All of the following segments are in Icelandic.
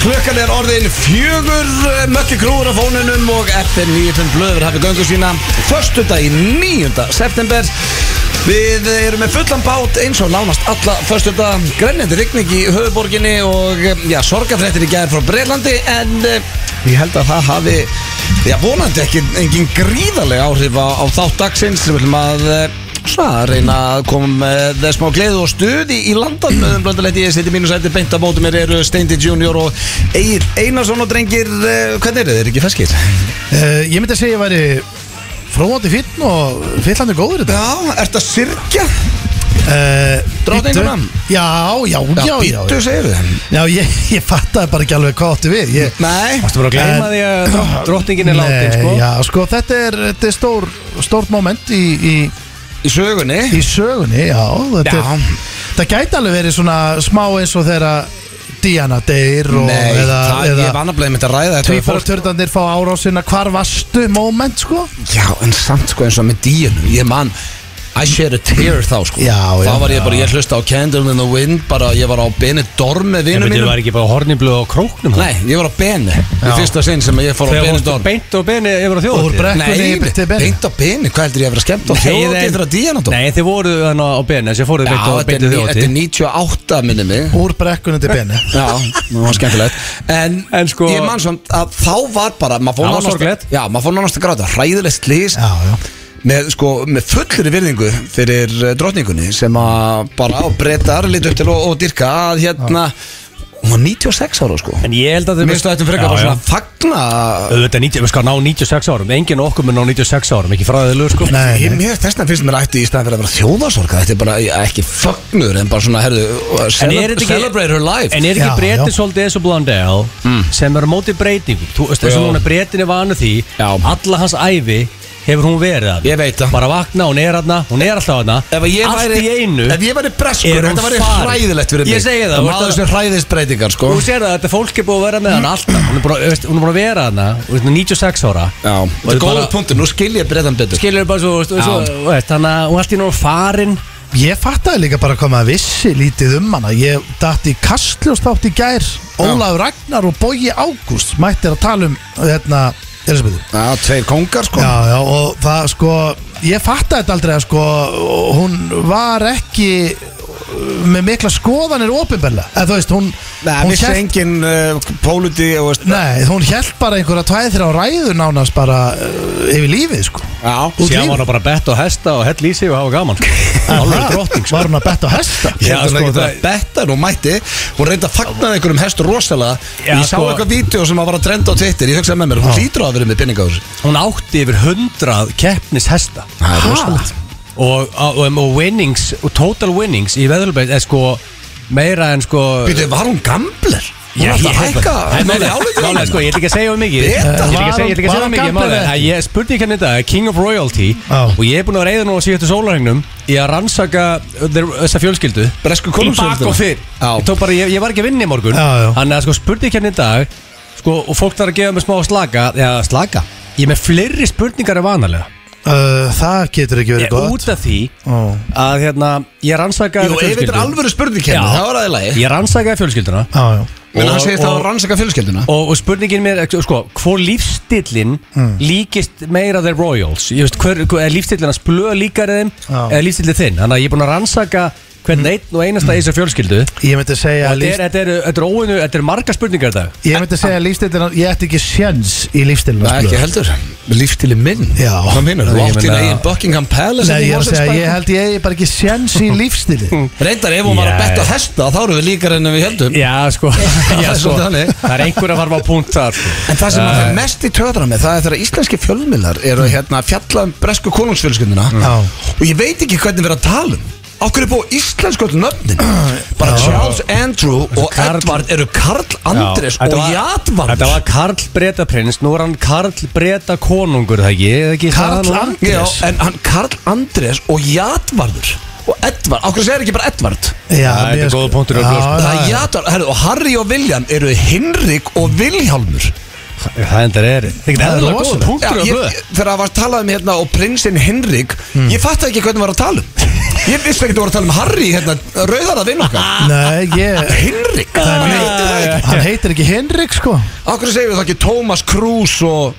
Klukkan er orðin fjögur eh, Mökki grúður á fónunum og FN 95 blöður hafi göngu sína Förstu dag í 9. september Við erum með fullan bát eins og nánast alla Förstu dag grennandi rigning í höfuborginni og eh, já, sorgafrættir í gær frá Breitlandi En eh, ég held að það hafi, já vonandi ekki engin gríðarlega áhrif á, á þátt dagsins Við viljum að eh, Svona, að reyna að koma með eh, smá gleðu og stuði í landan með um blöndalegt ég seti mínu sæti beint á mótu mér eru Steindi Junior og Egil Einarsson og drengir, eh, hvernig eru þeir ekki feskir? Uh, ég myndi að segja að ég væri fróðandi finn og fyllandi góður í þetta. Já, ertu að sirkja? Uh, Drottninguna? Já, já, já, já. býttu Já, segir þeim já ég, ég fattaði bara ekki alveg hvað áttu við. Ég, Nei, Eh, Þú bara að gleyma En- því að drott- drottningin er látin Nei, sko. Já, sko, þetta er, þetta er stór, stórt moment í, í, í sögunni í sögunni, já. Þetta Já. Er, það gæti alveg verið svona smá eins og þegar að Diana deyr og Nei, eða, það, eða ég var annaflega mitt að ræða þetta við fólk. tvífaratörðanir fá árásina hvar vastu moment, sko. Já, en samt sko eins og með díunum Ég man, I shed a tear þá sko Já, já. Þá var ég bara, ég hlusta á Candle in the Wind Bara ég var á Benidorm með En vinum betur mínum var ekki bara horniblu á króknum Nei, ég var á Beni Í Já. fyrsta sinn sem ég fór á Þegar fórstu Benidorm beint og beni yfir á Úr þjóðatíð brekk- Nei, Bekkunni til Beni. beint á Beni, hvað heldur ég að vera skemmt á þjóðatíð þegar að díana dó? Nei, þið voru hann á beni Þessi Já, fóruðu beint og þetta beint er og ní- þetta er þjóðatíð 98 minni mig Úr brekkunum til benni. Já, það var skemmtilegt En, En sko- ég man samt að þá var bara maður fór Það var nánast- sorglegt. Já, maður fór nánast að gráta, hræðilegt slýst Já, já. með, sko, með fullri virðingu fyrir eh, drottningunni sem að bara á breytar lítið upp til og, og dyrka að hérna hún var 96 ára sko En ég held að þið minnstu að þetta frekar bara svona fagna Auðvitað, 90 við skal ná 96 árum Engin okkur mun ná 96 árum Ekki fræðilegur sko Nei, Ég nei. mjög þessna finnst mér ætti í staðan fyrir að vera þjóðarsorga Þetta er bara ég, ekki fagnur en bara svona herðu, uh, En celeb- er þetta ekki- Celebrate her life En er ekki Já, breytin já. svolítið eins og Blondell sem er á móti breytingum Þú veist þess að Hmm. Já. núna breytin er vanu því Já. alla hans ævi hefur hún verið að Ég veit það. Bara vakna, hún er aðna, hún er alltaf aðna Ef ég Allt væri, í einu Ef ég væri breskur, er hún þetta væri farin. hræðilegt fyrir mig Ég segi það, þú ert Maður að- sem hræðist breytingar sko Þú sér það að þetta fólk er búið að vera með hann alltaf Hún er bara, veist, hún er bara að vera hana Hún er 96 ára Já, þetta Þetta er góður bara- punktur, nú skil ég breytan betur Skilur bara svo, veist, svo veist, Þannig að hún er alltaf í náttúrulega farin Ég fattaði líka bara hvað maður vissi lítið um hana Ég dætti í Kastljóstátt í gær Ólafur Ragnar og Bogi Ágúst mættir að tala um hérna Elisabethu Já, tveir kongar sko Já, já, og það sko Ég fattaði þetta aldrei að sko Hún var ekki uh, með mikla skoðanir opinberlega eða þú veist, hún, Nei, hún, vissi hélt, engin uh, póliti og veist nei, hún hélt bara einhverja tvæð þrjá ræður nánast bara uh, yfir lífið sko Já, Út Sér lífið. var hann bara bett og hesta og hell í sig og hafa gaman sko. Alveg drottning sko. Var hún að betta á hesta? Já, Já, sko, sko, það það- er bettar og mætti Hún reyndi að fagna einhverjum hestur rosalega Já, Ég sá sko- eitthvað vídeo sem að var að trenda á Twitter Ég hugsaði með mér, hún hlýtur á að vera með pinninga á þessu Hún átti yfir 100 keppnis hesta Það er rosalegt og, og, og winnings og total winnings í veðurlubeit er sko meira en sko Býtu, var hún gambler? Hún Já, ætti ég- að hækka Nei, nei, nei, málega, sko, Ég ætla ekki að segja um mikið Ég ætla ekki að segja- ég ætla ekki að segja Var um hann mikið gamall málega, eða en Ég spurði ekki hann þetta King of Royalty Já. Og ég er búin að reyða nú að síðastu sólarhengnum Í að rannsaka uh, þeir- þessa fjölskyldu Bresku Í bak og konungsöldina. fyrr Já. Ég tók bara- Ég ég var ekki að vinna í morgun Já, já. Þannig að sko, spurði ekki hann í dag sko, Og fólk þarf að gefa mig smá slaka Já, slaka Ég er með fleiri spurningar en vanalega Uh, það getur ekki verið Ég- Út gott af því Ó. að hérna, ég rannsaka Jú, ef þetta er alvöru spurning hérna, Já. það var aðeins Ég rannsakaði fjölskylduna Já, já Menn hann Og- segist að það og- var rannsaka fjölskelduna Og, og spurningin mér, er, sko, hvor lífstillin Hmm. líkist meira þeir Royals? Ég veist, hver, hver, er lífstillin að splöa líkar þeim, Já. eða lífstillin þinn? Þannig að ég er búinn að rannsaka hvern einn og einasta í þessu fjölskyldu. Ég myndi segja að Þetta Hmm. lífs- er, þetta er, þetta er óinu, þetta er marga spurningar í dag. Ég myndi segja að lífstilina, ég ætti ekki sjens í lífstilina Nei, ekki heldur Líftili minn Já. Hvað minnur? Þú Ég átt í meina- eigin Buckingham Palace hérna Nei, í ég er að segja, Mosfellsbæ. ég held ég eigi bara ekki sjens í lífstili Hm. Reyndar, ef hún var að Já, betta já. hesta Þá eru við líkar enn við heldum Já, sko, það já, er sko. svolítið þannig. það er einhver að farfa á punkt þar. sko. En það sem að það er mest í töðra með það er þegar íslenski fjölmiðlar eru hérna að fjalla um bresku konungsfjölskynduna Já. og ég veit ekki hvernig við erum að tala um Okkur er búið íslensku öll nöfnin Bara Charles Andrew og Karl- Edward eru Karl Andres Já, þetta og var- Jadvan Þetta var Karl Breta prins, nú er hann Karl Breta konungur, það ekki? eða ekki Karl það nú? Andrés. Já, en hann Karl Andres og Jadvarður og Edvard, okkur segir ekki bara Edvard Já, þetta er mér- góður punktur að Já, blöð, sko. já, Það er já. Jadvar, herru, og Harry og William eru Hinrik og Vilhjálmur Það endar er, þetta Það er er góð rosalegt. Já, punktur að ég, blöð. Hmm. þegar það var talað um hérna og prinsinn Henrik ég fatt ekki hvernig var að tala um Ég vissi ekki að voru að tala um Harry hérna, Rauðar að vinna okkar Ah. Nei, ég Hinrik Hann Þannig heitir það heitir, ekki hann heitir ekki Henrik sko Akkur segir við það ekki Thomas Cruz og,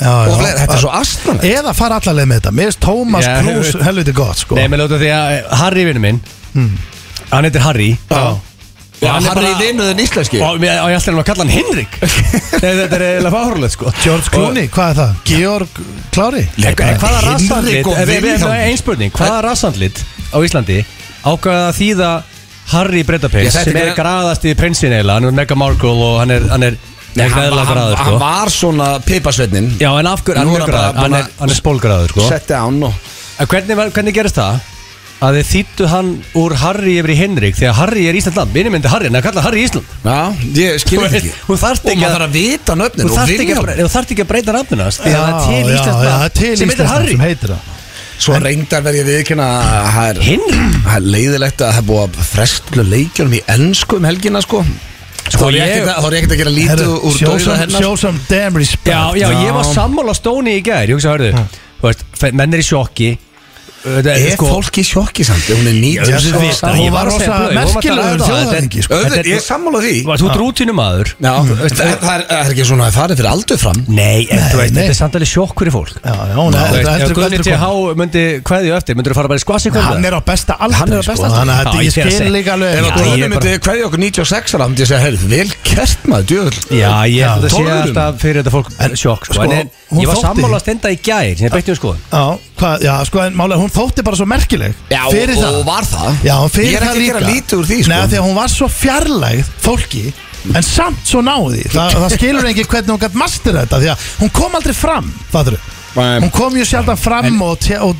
já, og fleiri Þetta er svo Ah. astlan Eða fara allarleið með þetta Mér finnst Thomas Já, Cruz hefur- helviti gott sko Nei, með lóta því að eh, Harry vinnu minn Hann heitir Harry Já, hann er Harry bara- vinnuðin íslenski Og mér- og ég ætla hann að kalla hann Henrik Nei, þetta er eiginlega fárlega sko George Clooney, hvað er það? Georg Klári? En Hvaða rassandlit og eh, við- við- Vilhjálmur. nei, Ein spurning, hvaða rassandlit á Íslandi ákvaða að þýða Harry Ég, Brettapins þetta sem er- er graðast í prinsin eiginlega Hann er mega Markle og hann er hann er Nei, ekki hann, eðlilega hann, graður hann sko var svona pipasveitnin Já, en af hverju, hann Nú er er hann mjög bara graður, hann búinn er, að- hann er spólgraður sko Setti hann og En hvernig, var- hvernig gerist það? Að þið þýttu hann úr Harry yfir í Henrik Þegar Harry er Ísland land, minni myndi Harry En að kalla Harry Ísland Já, ég skil Þú þetta veist, ekki þú þarft Og ekki maður að- þarf að vita nöfnin Þú og þarft ekki, að Vilhjálmur. bre- þú þarft ekki að breyta nafnunast Því að það er til Ísland já, það er til sem heitir Íslands Harry sem heitir það Svo reyndar verð ég viðkynna að það er- Henrik? það er leiðilegt að það er búið að frestlu leikjunum í ennsku um helgina sko Þá er ég ég- ekkert að- þá er ég ekkert að gera lítið Herru, úr show dauða some- hennar Show some damn respect Já, já, ég var sammála Stóni í gær Ég hugsa, hörðu, þú veist, fe- menn er í sjokki Það Er fólk í sjokki samt? Hún er Já, þú 90 veit það, Hún ég var var að rosa segja blöð, ég var að tala um merkilegur það, þetta er- þjóðhöfðingi, sko. Auðvitað, þetta er- ég er sammála því Þú ert rútinum aður Já, það það er það er ekki svona að farið fyrir aldur fram Nei, en þú veist, nei. þetta er samt alveg sjokk fyrir fólk Já, já, hún Þú er veist, Ef heldur Gunni heldur T.H. góð myndi kveðju eftir Myndur þú fara bara í skvassi Hann er á besta aldri sko. Hann er á besta aldri. Þannig að þetta- ég Já, ég er að skil segja. líka sko. alveg Ef Já, að ég Guðni er bara- myndi hverja okkur 96 ára myndi ég segja, heyrðu, vel kert maður, djöðl Já, ég held að sé Tólfunum. alltaf fyrir þetta fólk En, sjokk sko. sko, En en hún ég var þótti- sammála að stenda í gær Ég beitti um sko Já, hvað, já, sko, en málega hún þótti bara svo merkileg Já, fyrir og- það og var það. Já, hún fyrir Ég er það ekki að gera líka. lítið úr því, sko. Nei, af því að hún var svo fjarlægð fólki En samt svo náði Þa, Það skilur engin hvernig hún gætt master þetta Því að hún kom aldrei fram, fattur Nei. Hún kom mjög sjaldan fram og, te, og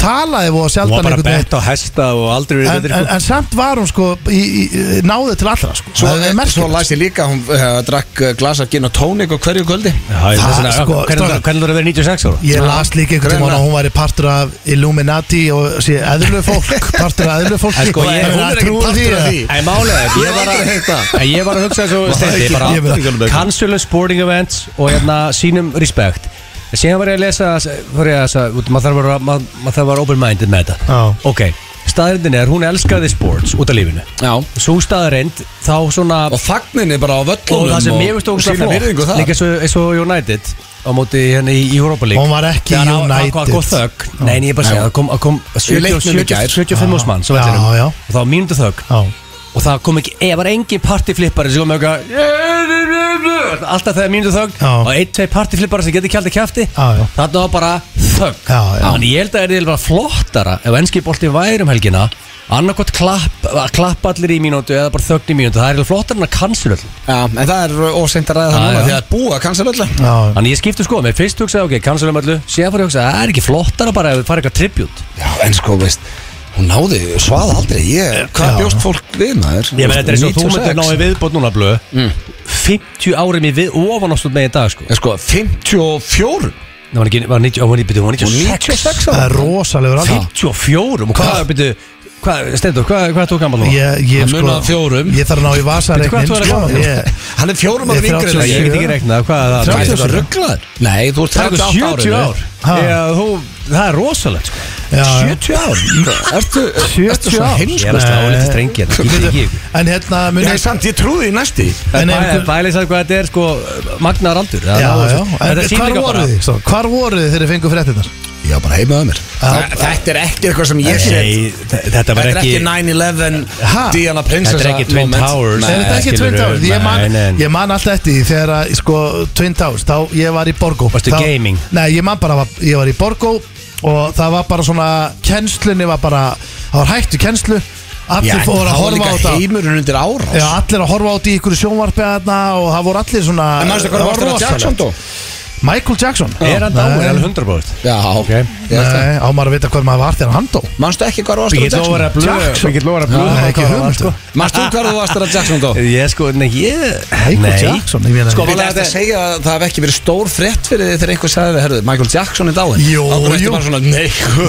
talaði og Hún sjaldan var bara einhvern veginn. bett á hesta og aldrei verið en, betri en, sko. en samt var hún sko í, í, Náði til allra sko Svo, Það er svo merkilegt. las ég líka, hún uh, drakk eh, glas af gin og tónik og hverju kvöldi Já, ég- það, þess vegna- sko, Hvernig strákar. hvernig þú eru að vera 96 ára? Ég las líka einhvern tímann greinlega. að hún væri partur af Illuminati og sé eðlu fólk partur af eðlu fólki En sko, ég- Þannig hún er að ekki trúi partur því af að- því. Nei, málega, ég var aldrei heyrt það. að Ég var að hugsa svo stendi ekki, ég veit bara Cancelu sporting events og hérna sínum respect En Síðan var ég að lesa var ég að, lesa- út- maður þarf að vera- maður- maður þarf að vera open minded með þetta Já. Ok, staðrindin er hún elskaði sports út af lífinu Já Svo staðrind þá svona Og fagninni bara á og völlunum það sem mér veist og ógustlega sína virðingu flott það líka svo, eins og United á móti henni í Europa League Hún var ekki Þegar hann- United. hann kom- hann kom þögg nei, en ég er bara að segja, Já. það kom, það kom leiknum í 70, gær. 75 hús mann Já, já. og það var mínútu þögg Já. og það kom ekki, eða var engin partyflippari sem kom með eitthvað alltaf þegar mínútu þögg Já. og einn, tvei partyflippari sem getur kjald að kjæfti Já, já. þannig var bara þögg Já, já. þannig ég held að það er bara flottara ef ennski bolti væri um helgina annarkot klapp, að klappa allir í mínútu eða bara þögn í mínútu, það er eiginlega flottara en að cancel öll Já, en það er óseint að ræða það Já, núna já. því að búa kannski öll Já, Þannig ég skipti sko, mér fyrst hugsaði ok, cancelum öllu Síðan fór ég að hugsa, það er ekki flottara bara ef við fara eitthvað tribut Já, en sko, veist Hún náði svað aldrei ég, Hvað Já. bjóst fólk við maður? Ég meina, þetta er eins og þú 96. myndir náði viðbót núna blöð 50 Mm. árum í við ofanástund með í dag sko En sko, 54 Það var ekki, var 90, var 90, var og 96 96 það ára er rosalegur alveg 54 og hvað, Hvað? byrju, hvað, Stendur, hvað, hvað tók gammal nú? Ég, ég, sko, Það munaði fjórum. ég þarf að ná í vasareiknin Veitu hvað þú er sko. gamall? Ég- Hann er fjórum Ég ára er yngri en 37. Ég ég. get ekki reiknað, hvað er Það er það? Þrjátíu og sjö. þetta rugglaður Nei, þú ert Það er 38 ára 70 ár Ha. Já, þú- Það er rosalegt sko Já, já. 70 ár? Ertu, ertu 70 svo ár? Ég eh, er heimsku? að slá hérna, Nei. litið strengir En hérna muni Nei, samt, ég trúði í næsti En er einhver- Bæli sagði hvað þetta er sko Magnaðar aldur Já, það náði já, þessu. en Þetta sýnir hvar líka bara- voru þið? Svo, Hvar voru þið þegar þið fengu fréttinnar? Já, bara heimaðu mér Þa- Þetta er ekki eitthvað sem ég sé Nei, þe- þetta var Þetta er ekki ekki 9-11 Ha? Diana Princess Þetta er ekki Twin Towers. Er þetta ekki skilurðu, Twin Towers? Ég man, nei, nei. ég man alltaf eftir því þegar að, sko, Twin Towers, þá ég var í Borgó Varstu Þá- gaming? Nei, ég man bara, að ég var í Borgó og það var bara svona, kennslunni var bara, það var hættu kennslu Já, Allir en það fóru var að horfa á líka þetta heimurinn undir árás Já, allir að horfa á þetta í ykkur sjónvarpi þarna og það voru allir svona En mannstu hvað það varst þetta rosalegt. Jackson dó? Michael Jackson Er hann dáið Nei. alveg 100 bróðist? Já, Ok. Ég held það. Nei, á maður að vita hvað maður var þegar hann dó Mannstu ekki hvað varst Ég þetta get lofað að Jackson? blöð Jackson. Ég get lofað að Já, blöð ekki hugmynd, sko. Mannstu hvað varst þetta Jackson dó? Ég sko, nei, ég Michael Jackson, ég meina Sko, Málega þetta að segja að það hef ekki verið stór frétt fyrir þið þegar einhver sagði þið, herruðu, Michael Jackson er dáin Jú, Og þú jú. bara svona, nei,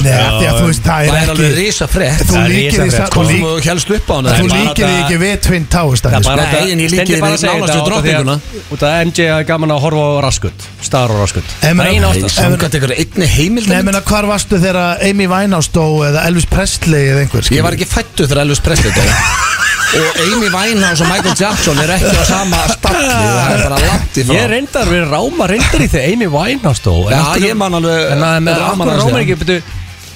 Nei, af því að þú veist, það það er er ekki alveg risa frétt Þú Það er líkir því risafrétt, samt- sko. þú Þú lík- þú helst upp á hana þú er bara líkir því þetta- ekki við Twin Towers Það dæmi, er bara sko. Nei, en ég líki Steindi við bara að segja nánast við þetta út af því að- drottninguna. Út af MJ að gaman að horfa á raskut Stað Aron Raskund Em- Það er eina ástæð Samkvæmt ykkur einni Nei, heimildamind menna, hvar varstu þegar Amy Winehouse dó eða Elvis Presley eða einhver Ég var ekki fættu þegar Elvis Presley dó Og Amy Winehouse og Michael Jackson er ekki á sama stalli Það er bara langt í frá Ég reyndar, við ráma reyndar í þegar Amy Winehouse dó en Já, af hverju- ég man alveg- En að með af raman hverju aðeins ráma í ekki, betur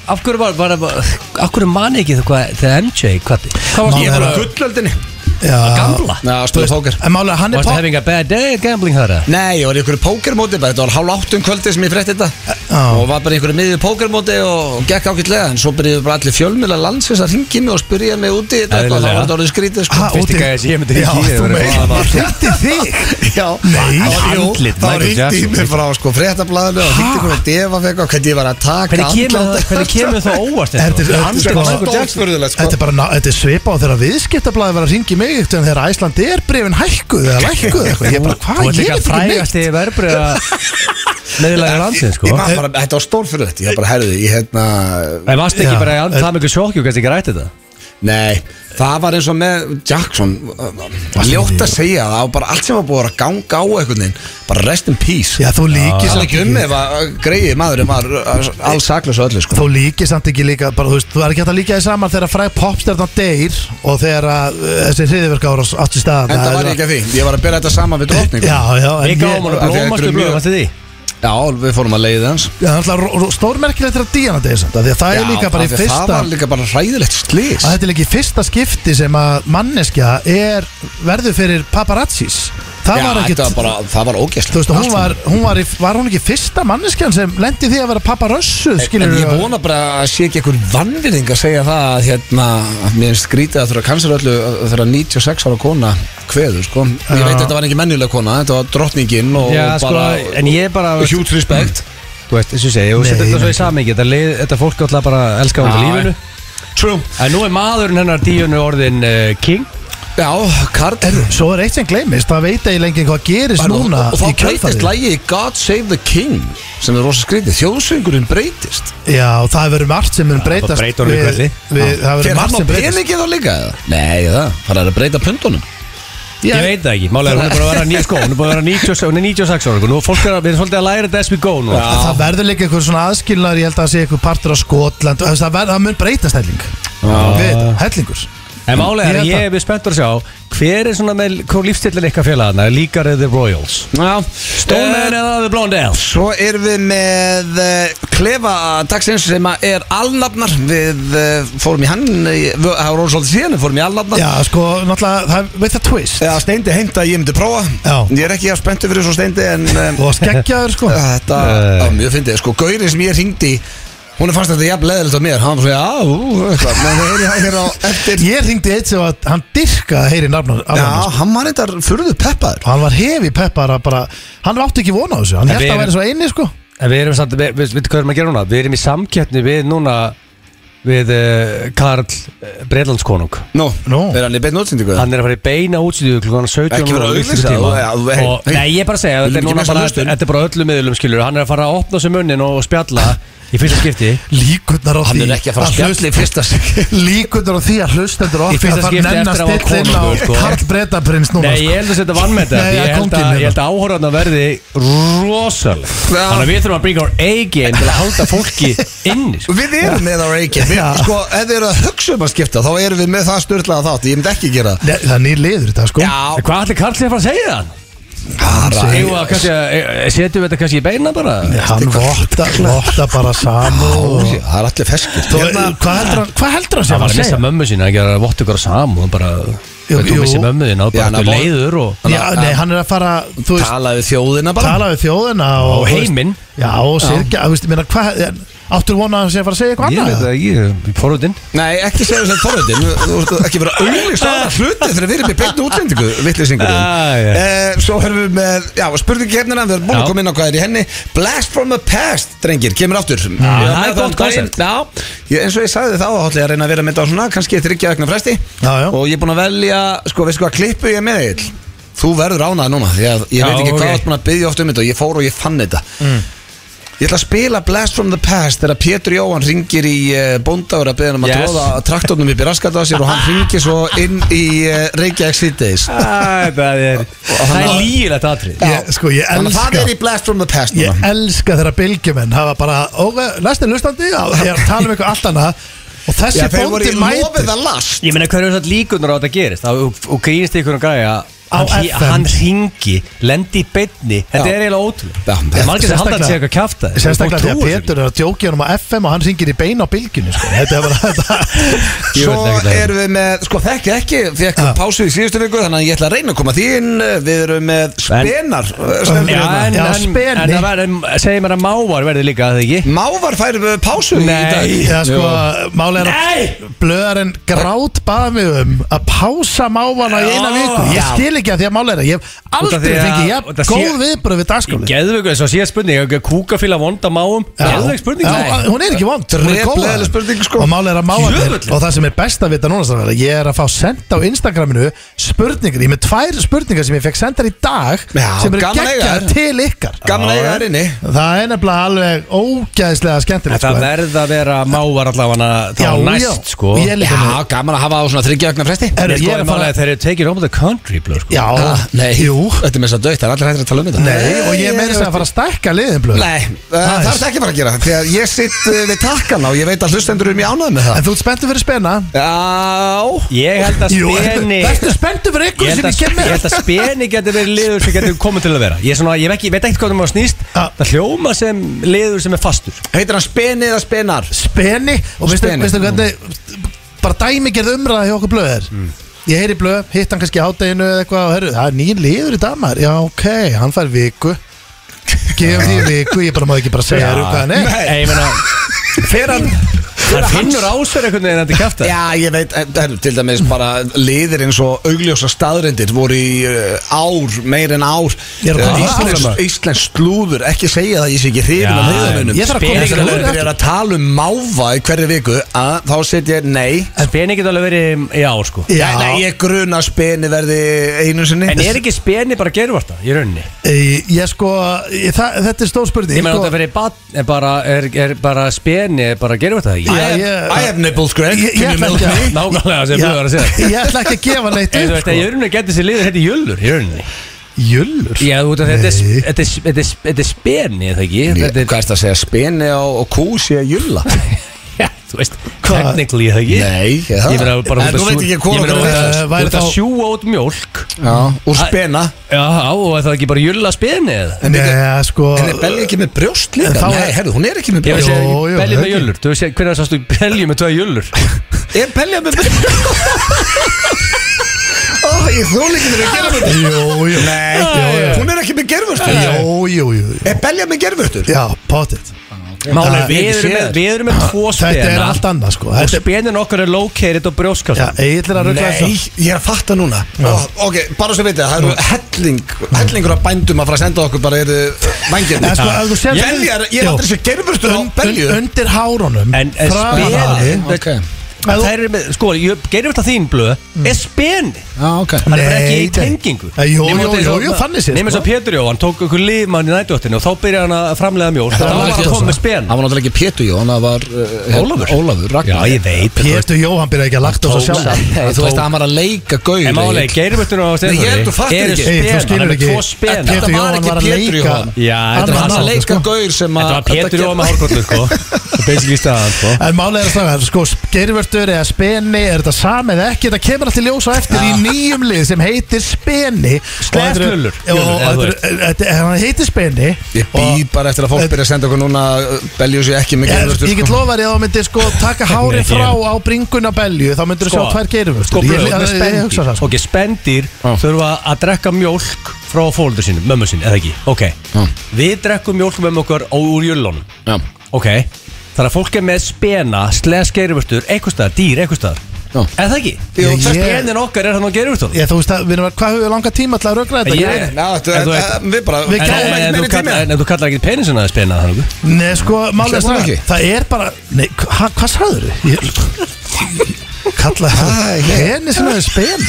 Af hverju var, var, var Af hverju man ekki þegar þegar MJ Hvað, hvað Má Ég varstu vera- var bara á gullöldinni Já. gamla? Já, stóðu tókir En málega hann er Varstu pop having a bad day at gambling þar eða? Nei, ég var í einhverju pókermóti bara, Þetta var hálf áttum kvöldi sem ég frétti þetta Já. Og var bara í einhverju miðju pókermóti og, og gekk ágætlega En svo byrjuðu bara allir fjölmjöla landsins að ringi mig og spyrja mig úti í þetta eitthvað, Þá Eðlilega. var þetta orðið skrítið sko. Ha, Fyrsti úti- gæði sem ég myndi hringja í Já, hefur þú verið meina, Adam maður Jackson. hringdi í þig Já, Nei. Jú, Andlit þá Michael ringdi Jackson. mér frá sko, fréttablaðinu og ringdi hvernig defa fyrir hvernig ég var að taka Hvernig kemur það- andlát- Hvernig kemur það óvart Þetta er- Hann þetta er- sko Michael Stórt furðulegt, sko. Þetta er bara ná- þetta er svipa á þegar viðskiptablaði var að ringi mig eitt en þegar Æslandi er brefin hækkuð eða lækkuð eitthvað, ég bara, hvað, Þú ert ég líka er ekki frægast neitt í verbrið meðlægir landsins sko Ég man bara, þetta var stór fyrir þetta, ég bara herði, ég hérna En varst ekki Já. bara í það mikið sjokk og kannski ekki rætt þetta Nei, það var eins og með Jackson Ljótt að segja það og bara allt sem var búið að vera að ganga á einhvern veginn Bara rest in peace Já, þú líkir Það er samt ekki um ef að greiði maðurinn var alls saklaus og öllu sko Þú líkir samt ekki líka, bara, þú veist, þú er ekki hægt að líka því saman þegar fræg popstjarnan deyr og þegar að, uh, þessi hriðiverk ára átt í staðan En það var ég ekki að því, ég var að bera þetta saman við drottningu Já, já, en Við gáum hann af því að þetta blómastu eru blöð, mjög- varstu því? Já, við fórum að leiði hans Já, það er alltaf stórmerkilegt þegar Díana deyr samt, af því að það Já, er líka bara af í því að fyrsta Það var líka bara hræðilegt slís að þetta er ekki í fyrsta skipti sem að manneskja er verður fyrir paparazzis það Já, var þetta var ekkert bara, það var þú veist, ógæslega hún var, hún var, í, var hún ekki fyrsta manneskjan sem lendi því að vera paparössu En skilur ég vona bara að sé ekki einhver vannvinning að segja það að hérna, að mér er skrítið að þurfa að cancela öllu að þurfa 96 ára kona kveður, sko. Ég Já. veit að þetta var ekki mennileg kona, þetta var drottningin og Já, sko, bara en ég bara Mm. huge respect. Þú veist, eins og ég segi, þú Nei, setur þetta svo í nei. samingi Þetta, lið, þetta fólk alltaf bara elskar hún til Já, lífinu True. En nú er maðurinn hennar díunu orðin uh, king Já, Karl. Er, svo er eitt sem gleymist, það veit ég lengi hvað gerist Bara- núna og, og í þá breytist kjölfarið lægi God Save the King sem er rosa skrítið, þjóðsöngurinn breytist Já, og það verður margt sem mun bara breytast breyta honum í við- kvelli. við- Það verður Fyrir hann á margt sem breytist peningið þá líka eða? Nei, það, það er að breyta pundunum Ég veit það ekki, málega hún er bara að vera ný, sko, hún er bara að vera 96, hún er 96 ára sko. Nú er fólk er, að- við erum svolítið að læra þetta as we go nú Já. Það verður líka einhver svona aðskilnaður, ég held að það sé einhver partur á Skotland þú veist, Það, verður, það mun breytast helling Við þetta, hellingur En málega, Ég held ég, það. ég er spenntur að sjá Hver er svona með, hvað lífstillin ykkar félagana? Líkar eða The Royals? Já, Eh, Stoneman eða The Blondales? Svo erum við með eh, klefa dagsins sem að er alnafnar Við eh, fórum í hann, í- við- það var orðið svolítið síðan, við fórum í alnafnar Já, sko, náttúrulega, það, við það twist Já, Steindi heimta að ég myndi prófa Já. Ég er ekki að spenntu fyrir svo Steindi en um, Og skeggjaður, sko þetta Nei. var mjög fyndið Sko, Gaurið sem ég hringdi, hún fannst þetta jafn leðilegt á mér Hann var svona, já, ú, eitthvað, menn það er ég hér á eftir Ég ringdi eitt sem að hann dyrkaði heyri nafnar Já, hann var þetta furðu peppaður sko. Hann var hefi peppar að bara Hann átti ekki vona á þessu, hann En held að við hann væri erum- svo eini sko En við erum samt, við, við, við, hvað erum að gera núna? Við erum í samkettni við núna við uh, Karl uh, Breitlandskonung Nú, Nú. er hann í beinn útsendingu eða? Hann er að fara í beina útsýðu klukkan 17 Ekki vera núna að á virkum auglýsa, tíma. þú- ja, þú- hey, og, hey. Nei, ég er bara að segja, Viljum þetta er ekki núna missa bara hlustun. Þetta er bara á öllum miðlum skilur Hann er að fara að opna sér munnin og spjalla í fyrsta skipti Líkurnar á því Hann er ekki að fara að spjalla í fyrsta sig hlust- Líkurnar á því að hlustendur Í okkar fyrsta Það skipti nenn að eftir að hann var stilla inn á konungur, sko. Karl Bretaprins núna sko. Nei, ég held að þetta vann með þetta Nei, Ég ja, held að, kónginn ég held að áhorðan verði rosaleg hérna. Já. Þannig að við þurfum að bringa úr eigin til að halda fólki inni sko. Við erum með það reykjum Já. Sko, ef þið eru að hugsa um að skipta þá erum við með það störtlega þátt Ég myndi ekki gera það Nei, það er nýr liður þetta sko En Hvað ætli Karl sé að fara að segja það? Eigum við að kannski að- e- Setjum við þetta kannski í beina bara? Hann votta, votta bara Ó, saman Það er allir feskir Hérna, Hérna, Hvað heldur hann Hvað heldur hann Það sem var að að missa segja? mömmu sína að gera vott ykkur á samu og bara, Jú, þú jú. missi mömmu þín og Já, bara hann þú var- leiður og Já, nei, hann er að fara Þú veist, Talaðu þjóðina bara tala við þjóðina Og heiminn. veist, Já, og sirkja, þú veist, ég meina, hvað Áttur vona að hann sé að fara að segja eitthvað Ég veit annað það ekki, fórhundin Nei, ekki segja þess að forröndin Þú ert ekki verið að auglýsa aðra hluti þegar við erum í beinu útsendingu Vittlýsingurinn Ah, já. eh, Svo höfum við með, já, hérna spurningu kemnina Við erum búin Já. að koma inn á hvað er í henni Blast from the past, drengir, kemur aftur Ég var Ah, það með er gott um daginn. konsept. Já, ég, eins og ég sagði þá þá ætla ég að reyna að vera með þetta á svona kannski þryggja vegna fresti Já, já. Og ég er búin að velja, sko, veistu hvað klippu ég er með Egill? Þú verður ánað núna Því að ég Já, veit ekki ok. hvað þú ert búin að byggja oft um þetta Og ég fór og ég fann þetta Ég ætla að spila Blast from the Past þegar Pétur Jóhann ringir í eh, bónda og er að beða hann um að Yes. tróða traktornum upp í raskat á sér og hann ringir svo inn í eh, Reykjavík City's Æ, Það er, það er lígilegt atrið Ég, sko, ég Þannig að það elska er í Blast from the Past núna Ég elska þeirra bylgjumenn hafa bara, og næstu hlustandi já, ég er að tala um eitthvað allt annað og þessi Já, þeir voru bóndi í mætir lofið að last Ég meina hverju þetta líkunar á að þetta gerist Það- og, og grínist ykkur um gæja Á hann, hí- FM. hann ringi, lendi í beinni Þetta Já. er eiginlega ótrúlega Já, Það er margir sem halda að sé eitthvað kjafta sérstaklega því að Petur er að djókja hann á FM og hann syngir í beina á bylgjunni sko. þetta er bara þetta Ég veit Svo ekki það. erum við með, sko þekki ekki Fekk Já. pásu í síðustu viku þannig að ég ætla að reyna að koma því inn Við erum með spenar eh, stendur Já, hérna. en, Já, en, speni. en það verður, segir mér að mávar verður líka að það ekki Mávar færum við pásu í Nei. dag Já, sko, málega er Nei! að blöðarinn grátt baða mig um að pása mávana í eina Já. viku Ég skil ekki að því að málega er að ég hef Út af aldrei því að- fengið út jafn af því að- góð viðbröð við dagskóli Geðvöku, þess að síðan spurning Kúkafíla vonda máum Geðvöku spurning Já, hún er ekki vond, hún er góð Drepleðileg spurning, sko. Og máli er að máa þér Jöfullinn. Og það sem er best að vita núna strákar, Ég er að fá senda á Instagraminu spurningar Ég er með tvær spurningar sem ég fekk sendar í dag Já, Sem eru gaman að eiga geggjað þær. til ykkar Gamla eiga þær inni Það er nefnilega alveg ógæðislega skemmtilegt Það sko. verða að vera mávar allavega þá Já, já. næst sko Ég líka með- Já, gaman að hafa á svona þryggjaugna fresti Herru, Ég ég skoði er að málega fara að þeir eru tekið over the country blöð, sko. Já, Ah, Nei, jú þetta er með þess að dögt, það er allir hættir að tala um þetta Nei, og ég meiri ég sem að fara að stækka liðin blöð Nei, uh, það er ekki bara að gera Þegar ég sitt uh, við takkan á Ég veit að hlustendur eru mjög ánægð með það En þú ert spenntur fyrir spenna Já Ég held að Jú, speni ertu spenntur fyrir ykkur Ég sem held, að, ég kem ég með held að speni getur verið liður sem getur komið til að vera Ég, er svona, ég, hef ekki, ég veit ekkert hvað það maður snýst Ah. Það hljóma sem liður sem er fastur Heitir hann spenið eða spenar? Speni Og veistu Speni. veistu hvernig Bara dæmigerð umræða hjá okkur blöð er Mm. Ég heyri blöð, hitt hann kannski hátteginu eða eitthvað og herru, það er nýjum liður í damar Já, ok, hann fær viku Gefum því viku, ég bara má ekki bara segja þér um hvað hann er Nei, ég meina Fer hann Það finnur ásverð einhvern veginn að þetta kæfta Já, ég veit, eh, eh, til dæmis bara liðir eins og augljósa staðrendir voru í uh, ár, meir en ár Ég er Eh, að koma Íslensk- að árum. Íslensk slúður, ekki segja það, ég sé ekki hrifin af Já, liðanunum ég þarf að koma Þegar þessu þú liður byrjar að tala um máva í hverju viku að, þá set ég nei Speni getur alveg verið í ár sko Já, Nei, nei, ég gruna að speni verði einu sinni En er ekki speni bara gervarta í rauninni? ég, ég sko, ég, það, þetta er stór spurning Ég meina sko. þetta verið bad, er bara, er, er bara speni er bara gervarta I, það ekki? Já, have, ég- I have nipples, Greg Ég- ég Can you ætla milk ekki að- me? Nákvæmlega sem Já, þú var að segja Ég ætla ekki að gefa neitt En þú upp veist, í sko. rauninni getur þessi liður heiti jölur í rauninni Jullur Já, þú veit að þetta er- Nei. þetta er- þetta er- þetta er speni, er það ekki? Hvað Þetta er er- það að segja, speni og, og kú sé að julla? Já, þú veist, Hvað? technically er það ekki Nei, ég Ég meina bara En út að Nú veit sjú- ekki hvað ég meina okkar út að- er Eh, væri út að þá- sjúa út mjólk Já, úr spena Já, og er það ekki bara julla speni eða? Nei, sko En er Belli ekki með brjóst líka? En þá- Nei, herru, hún er ekki með Ég veist brjóst Jú, jú, að belja með ekki. jullur Þú veist, hvernig sástu belja með tvað jullur Er Belli með brjóst? Ó, ég þól ekki þegar ég gera með þetta Jú, jú Nei, hún er ekki með gerfurtur Jú, jú, jú jú. Er Belli með gerfurtur? Já, potið Máli, Það- við erum með- við erum með tvo Þetta er spena allt annað sko Og Þetta er spenin okkar er located á Já, e- brjóskassan Egil er að rögla Nei, ég er að fatta núna Ó, Ok, bara svo veitir, það eru helling Hellingur af bændum að fara að senda okkur bara eru vængir Nei, sko, ef þú sér- Beljar, ég er Jú. aldrei sér gerfurtur á un, un, Belju Undir hárunum En en framan á spenin henni. Ok. Ef þú- Það er með, sko, gerum þetta þín blöð Er speni Já, ok Það er bara ekki Mm. í Nei, nei. tengingu Eh, jú, jú, jú, jú, þannig séð, Nefnir sko. svo Pétur Jóhann tók okkur lífmann í nættuöttinu og þá byrjaði hann að framlega mjól Þá Það var var hann ekki að koma það. með spen Það var náttúrulega ekki Pétur Jón, það var uh, Ólafur. Ólafur Ragnar Já, ég veit en þú veist- Pétur Jóhann byrja ekki að lagt á sig sjálf Nei, þú veist að hann var að leika gaur En málega, geirvöttunum á Nei, ég held þú fattir eru ekki. Egil, þú spena, hann skilur er ekki tvo spena Þetta Pétur var Jóhann ekki var að Pétur leika Jóhann. Já, Þetta var Annan hann að hátt, leika sko. gaur sem að Þetta var Pétur Jóa með hárkollu, sko Það er basically staðan, sko En málega er að slaga, sko, geirvörtur eða speni, er þetta sami eða ekki, þetta kemur alltaf ljós á eftir í nýjum lið sem heitir speni Slepp lullur. Lullur, eða þú veist. eh, Hann heitir speni Ég og- Eh, bý bara eftir að fólk byrja að senda okkur núna uh, Belju sér ekki með Ég, gerðustur ég get lofað þér að þú myndir sko taka hári Nei, ég- frá á bringuna belju þá myndir þú sjá tvær geirumur Sko, ég, blöð, ég, með ég, ég hugsa það spendir sko. Ok, spendir þurfa að drekka mjólk frá fólundur sínum, mömmu sín, eða ekki Ok, við drekkum mjólk með okkar á úr jölunum Já, Ok, þannig að fólk er með spena, sles geirvörtur, eitthvað staðar, dýr, eitthvað staðar Já. Eða það ekki? Jú, Það ég- spenin okkar er hann á geirvörtunum ég, þú veist að, við erum að, hvað höfum við langa tíma til að rögra þetta? Ég- Ég, Ná, þetta, En þú en, veit- en, við bara Við Við En, gætum- kæmum en, ekki en, þú meiri kallar- tími en þú kallar ekki penisina að spena það nokkuð? nei, sko, málega Sleppur hún það, ekki? það er bara, nei, hva, hvað sagður þau? Kalla Æ, það ég- henni sem hefur spen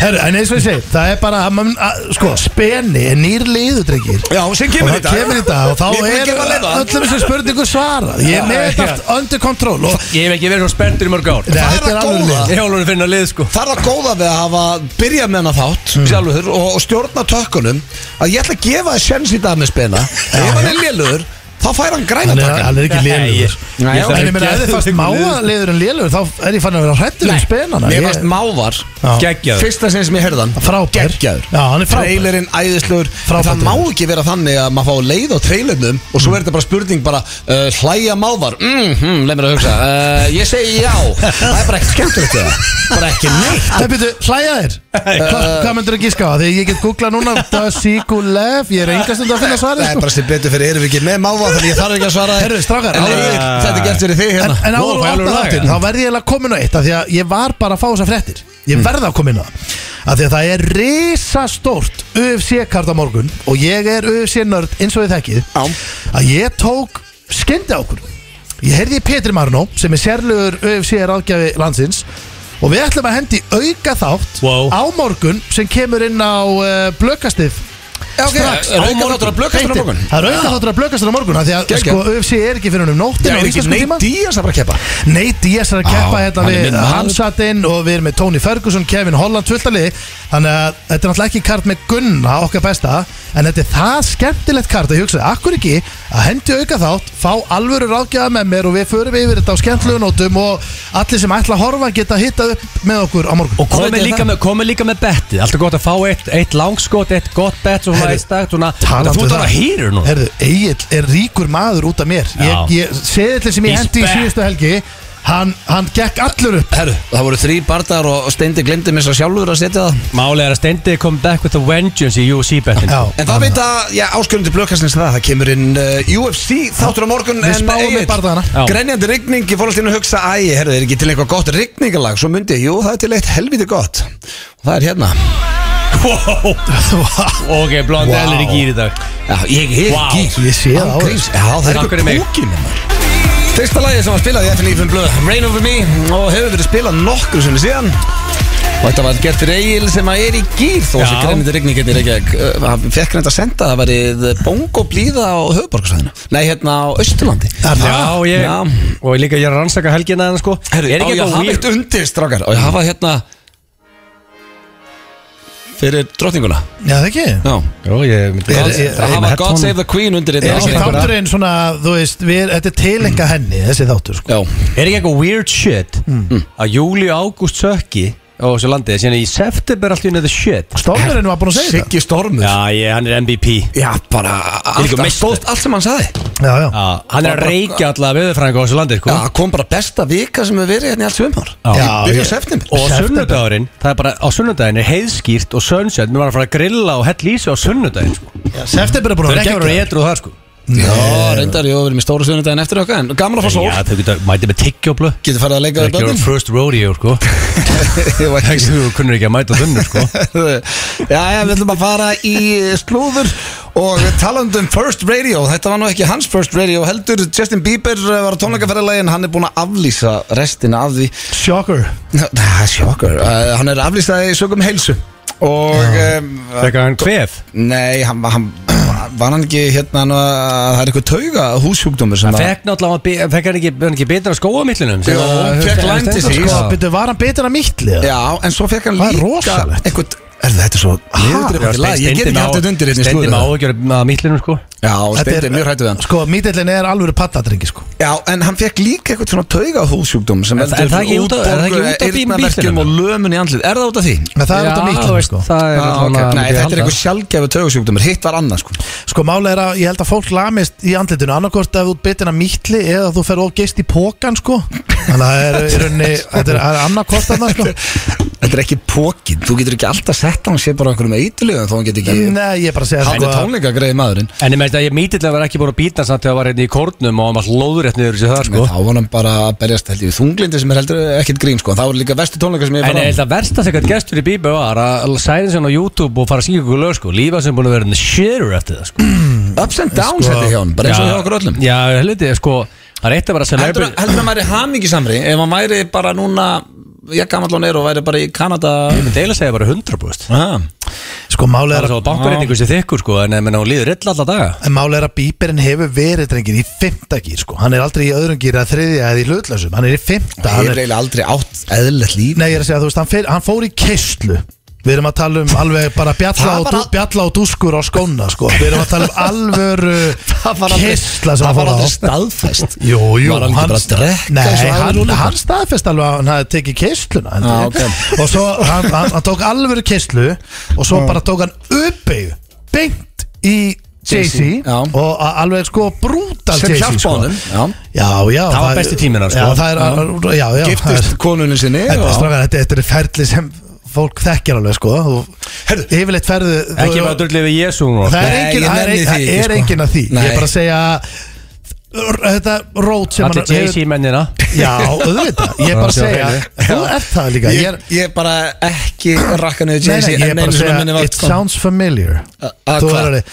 Herru, en eins og ég segi, það er bara að, man- að, sko, speni er nýr liðudrengir Já, sem og kemur í það dag kemur í dag og þá Ég er búin að er gefa leiða. öllum þessum spurningum svarað ég er með Já, þetta já. allt under control og Ég hef ekki verið svo spenntur í mörg ár Nei, Ég það er þetta er að alveg góða. lið hef alveg finna lið sko Það er það góða við að hafa byrjað með hana þátt sjálfur og, og stjórna tökkunum að ég ætla að gefa það sjens í dag með spena ef hann er lélugur þá fær hann græna hann er, hann tökkun er ekki liðlugur Nei, Ég- ég ok. þarf en ég meina, að ef þið fannst máa liður en liðlugur þá er ég fann að vera hrættur um spenana Mér Ég- fannst mávar Já. Geggjaður Fyrsta sinn sem ég herði hann Frábær. Geggjaður Já, hann er frábær. Trailerinn æðislegur En Frábær Það má trailer. ekki vera þannig að maður fá leið á trailernum Og svo er þetta bara spurning bara uh, Hlæja mávar mm, hm, Leif mér að hugsa uh, Ég segi já Það er bara ekkert skemmtilegt við það Bara ekki neitt Það byrju, hlæja þér Hva, Hvað myndur að gíska á? Þegar ég get googlað núna Dasíkulev, ég er engast um að finna svarið Það er sko. bara hérna. sem betur fyrir erum við ekki með máva Þannig ég þarf ekki að svara þér. Herru, strákar, En áður- Egill, Þetta er gert fyrir þig En, hérna en áður Vó, og hvað opna alveg laga? þáttinn, þá verð ég eiginlega komin á eitt af Því að ég var bara að fá þessar fréttir Mm. Ég verð að komin á það Af því að það er risastórt UFC-kart á morgun Og ég er UFC-nörd eins og þið þekkið Já. Að ég tók skyndi okkur Ég heyrði í Petri Marno Sem er sérlegur UFC-ráðgjafi landsins Og við ætlum að hendi auka þátt Wow. Á morgun sem kemur inn á uh, Blökastif ok. strax Er aukaþáttur á Blökastif á Beintinn. morgun? Það er auka þáttur að blökastur á morgun af Því að Geggjað. sko, UFC er ekki fyrir um nóttin Það er ekki neitt í þess að bara keppa Nate Diaz er að keppa Á, hann hérna er við minn maður. Hamsatinn og við erum með Tony Ferguson, Kevin Holland, tvöldaliði þannig að þetta er náttúrulega ekki kart með Gunna okkar besta, en þetta er það skemmtilegt kart að ég hugsaði, akkur ekki að hendi auka þátt, fá alvöru ráðgjaða með mér og við förum yfir þetta á skemmtilegu nótum og allir sem ætla að horfa geta hitta upp með okkur á morgun Og komið Komið líka, það. með, komið líka með bettið Alltaf gott að fá eitt, eitt langskot, eitt gott bett Svo svona Herri, eitt stagt Svona, Talandi um þú ert að það. hýra nú Herðu, Egil er ríkur maður út af mér Já. ég, ég, Seðillin sem ég He's hendi í back. síðustu helgi hann, hann gekk allur upp Herru, það voru þrý bardar og Steindi glemdi mér svo sjálfur að setja það Málega er að Steindi kom back with a vengeance í UFC bettin Já, En það hann- veit að, já, áskjörundi blökastins það Það kemur inn uh, UFC þáttur á morgun Við spáum í bardagana. Já. Grenjandi rigning, ég fór alltaf inn að hugsa Æ, herru, er ekki til eitthvað gott rigningalag Svo myndi ég, jú, það er til eitt helviti gott Og það er hérna wow. Ok, Wow. blond wow. er í gýr í dag Já, ég er Vá. gýr Ég sé það á Án þér. gríns. Já, það er Takk eitthvað fyrir mig. kókin Fyrsta lagið sem var spilað í FNF blöð Rain Over Me og hefur verið spilað nokkur sinni síðan Og þetta var gert fyrir Egil sem að er í gýr þó Já. sem greinandi regning hérna í Reykjavík Uh, hann fekk reynda að senda að það verið bongo blíða á höfuborgarsvæðinu Nei, hérna á Östurlandi Er það? Já, ég, Já. og líka ég er að rannsaka helgina hennar sko Herru, Er á ég að ekki eitthvað hafa eitt weird undir, strákar Og ég hafa hérna Fyrir drottninguna Já, það ekki Já Jó, ég myndi Er- God, er- að hafa er- God Save the Queen undir Er ekki hérna á einhverja- þátturinn svona, þú veist, við, þetta er tilenga henni, þessi þáttur, sko. Já, Er ekki eitthvað weird shit Mm. Að júli og ágúst sökki á þessu landið Sérna í september allt í unni the shit Stormurinn var búin að segja Siggi Stormur Já, ég, hann er MVP Já, bara allt, líka allt, meistari. stóðst, allt sem hann saði þetta. Já, já. Já, hann er að reykja allavega viðurfræðingu á þessu landið sko Já, kom bara besta vika sem við verið hérna í allt svömmar Já, Byrja ég- september Og á September. sunnudagurinn, það er bara, á sunnudaginn er heiðskýrt og sunset, mér var að fara að grilla og hell í sig á sunnudaginn, sko. September er búin að Það er ekki að rekja. vera eitthvað þar, sko. Já, reyndar, jú, við erum í stóra sunnudaginn eftir okkar En gaman að fá sól Já, þau getur, mætið með tiggjóblu. Getur farið að leika við Það er ekki að vera börnin first rodeo, sko. Ég var ekki- Þú kunnur ekki að mæta þunnu, sko. Já, já, við ætlum að fara í slúður og talandi um First Radio þetta var nú ekki hans First Radio heldur Justin Bieber var á tónleikaferðalegin hann er búinn að aflýsa restina af því Shocker. það er sjokkar hann er aflýsað í sögum heilsu og um, Þegar hann kvef. Nei, hann, hann var hann ekki hérna nú að það er eitthvað tauga húsjúkdómur sem Hann fekk náttúrulega, hann be- fekk hann ekki, hann ekki betur að skóa mittlunum. Jú, hann fekk Lyme disease. Sko, byrju, var hann betur að mittli? að Já, en svo fekk hann Það er líka rosalegt. eitthvað Er þetta er svo niðurdrifandi lag? Ég get ekki haft þetta undir hérna í Stendi slúðrið. með áhugjör að mittlunum, sko. Já, Steindi er mjög hættu við hann Sko, mittlinn er alveg patladringi, sko. Já, en hann fekk líka eitthvað svona tauga húsjúkdóm sem En það- en það er ekki út af- er það ekki út af bí- bílverkjum bílnum? og lömun í andlið Er það út af því? En það er út af Já, mittlinn, veist, sko. Það er Já, Ah, ok. svona- Nei, myndi ég þetta er halda. eitthvað sjálfgefi taugasjúkdómur Hitt var annað sko Sko, málega er að ég held að fólk lamist í andlitinu annarkort ef þú ert betur að mittli eða þú fer of geist í pókan, sko. Þannig að það er, í rauninni, þetta er- það er annarkort þarna, sko. Þetta er ekki pókin Þú getur ekki alltaf sett hann sé bara okkur með eitilöðum Þó hann get ekki Nei, ég er bara að segja, Hann sko, er að- tónleika greið maðurinn En ég meint að ég mítilega var ekki búin að býta samt þegar það var hérna í kórnum og hann var lóðurétt niður þessi það Nei, sko Þá var hann bara að berjast held ég við þunglindi sem er heldur ekkert grín sko En það var líka vestu tónleika sem ég En ég held fara á að versta sem gætt gestur í Bíbe var að sæðin sem á YouTube og fara að syngja ykkur lög sko Lífa sem búin að vera shitter eftir það sko Ups and sko- downs heldur hjá hann, bara eins og hjá okkur öllum Já, helviti, sko, það er eitt að vera Heldur celebrity að maður er hamingisamri ef hann væri bara núna ég gammal hún er og væri bara í Kanada Ég myndi eiginlega segja bara 100% ah. Sko málið Það er er að svo bankarreiningu sem þykkur sko En menn hún líður illa alla daga En málega er að bíberinn hefur verið drengir í fymta gýr sko Hann er aldrei í öðrum gýr að þriðja eða í hlutlösum Hann er í fymta Það hann hefur er... eiginlega aldrei átt eðlilegt líf Nei ég er að segja þú veist hann, fyr, hann fór í keislu Við erum að tala um alveg bara bjalla, Það og, var al... al- bjalla og dúskur á skóna sko Við erum að tala um alvöru keisla sem það var hann fór á aldrei staðfæst Jú, jú, Var hann ekki bara að drekka Nei, eins og aðrir hann, unglingar? hann staðfest alveg að hann hafði tekið keisluna Já, ok. Og svo hann, hann, hann tók alvöru keislu Og svo bara tók hann uppeyju Beint í Jay-Z, Jay-Z já. Og a- alveg sko brútal Sem Jay-Z hjálpa sko. honum, já. Já, já Það var besti tíminn hans, sko. Já, það er Já, já það er- Giftist konunni sinni Þetta er og- strákar, þetta- þetta er ferli sem fólk þekkir alveg sko og Herðu. Yfirleitt ferðu þú- Ekki bara drullið við Jésu núna Það er Nei, engin, ég það er, nenni engin, því það ekki, er sko. engin að því Ég Nei. er bara að segja r- Þetta rót sem Allir hefur- Jay-Z mennina Já, auðvitað Ég er bara að Já, segja já, Þú ert það líka Ég Ég er ég er bara ekki rakka niður Nei, nei, Jay-Z ég er en einu bara að sinni segja minni var- It sounds familiar A- að Þú hvað? er alveg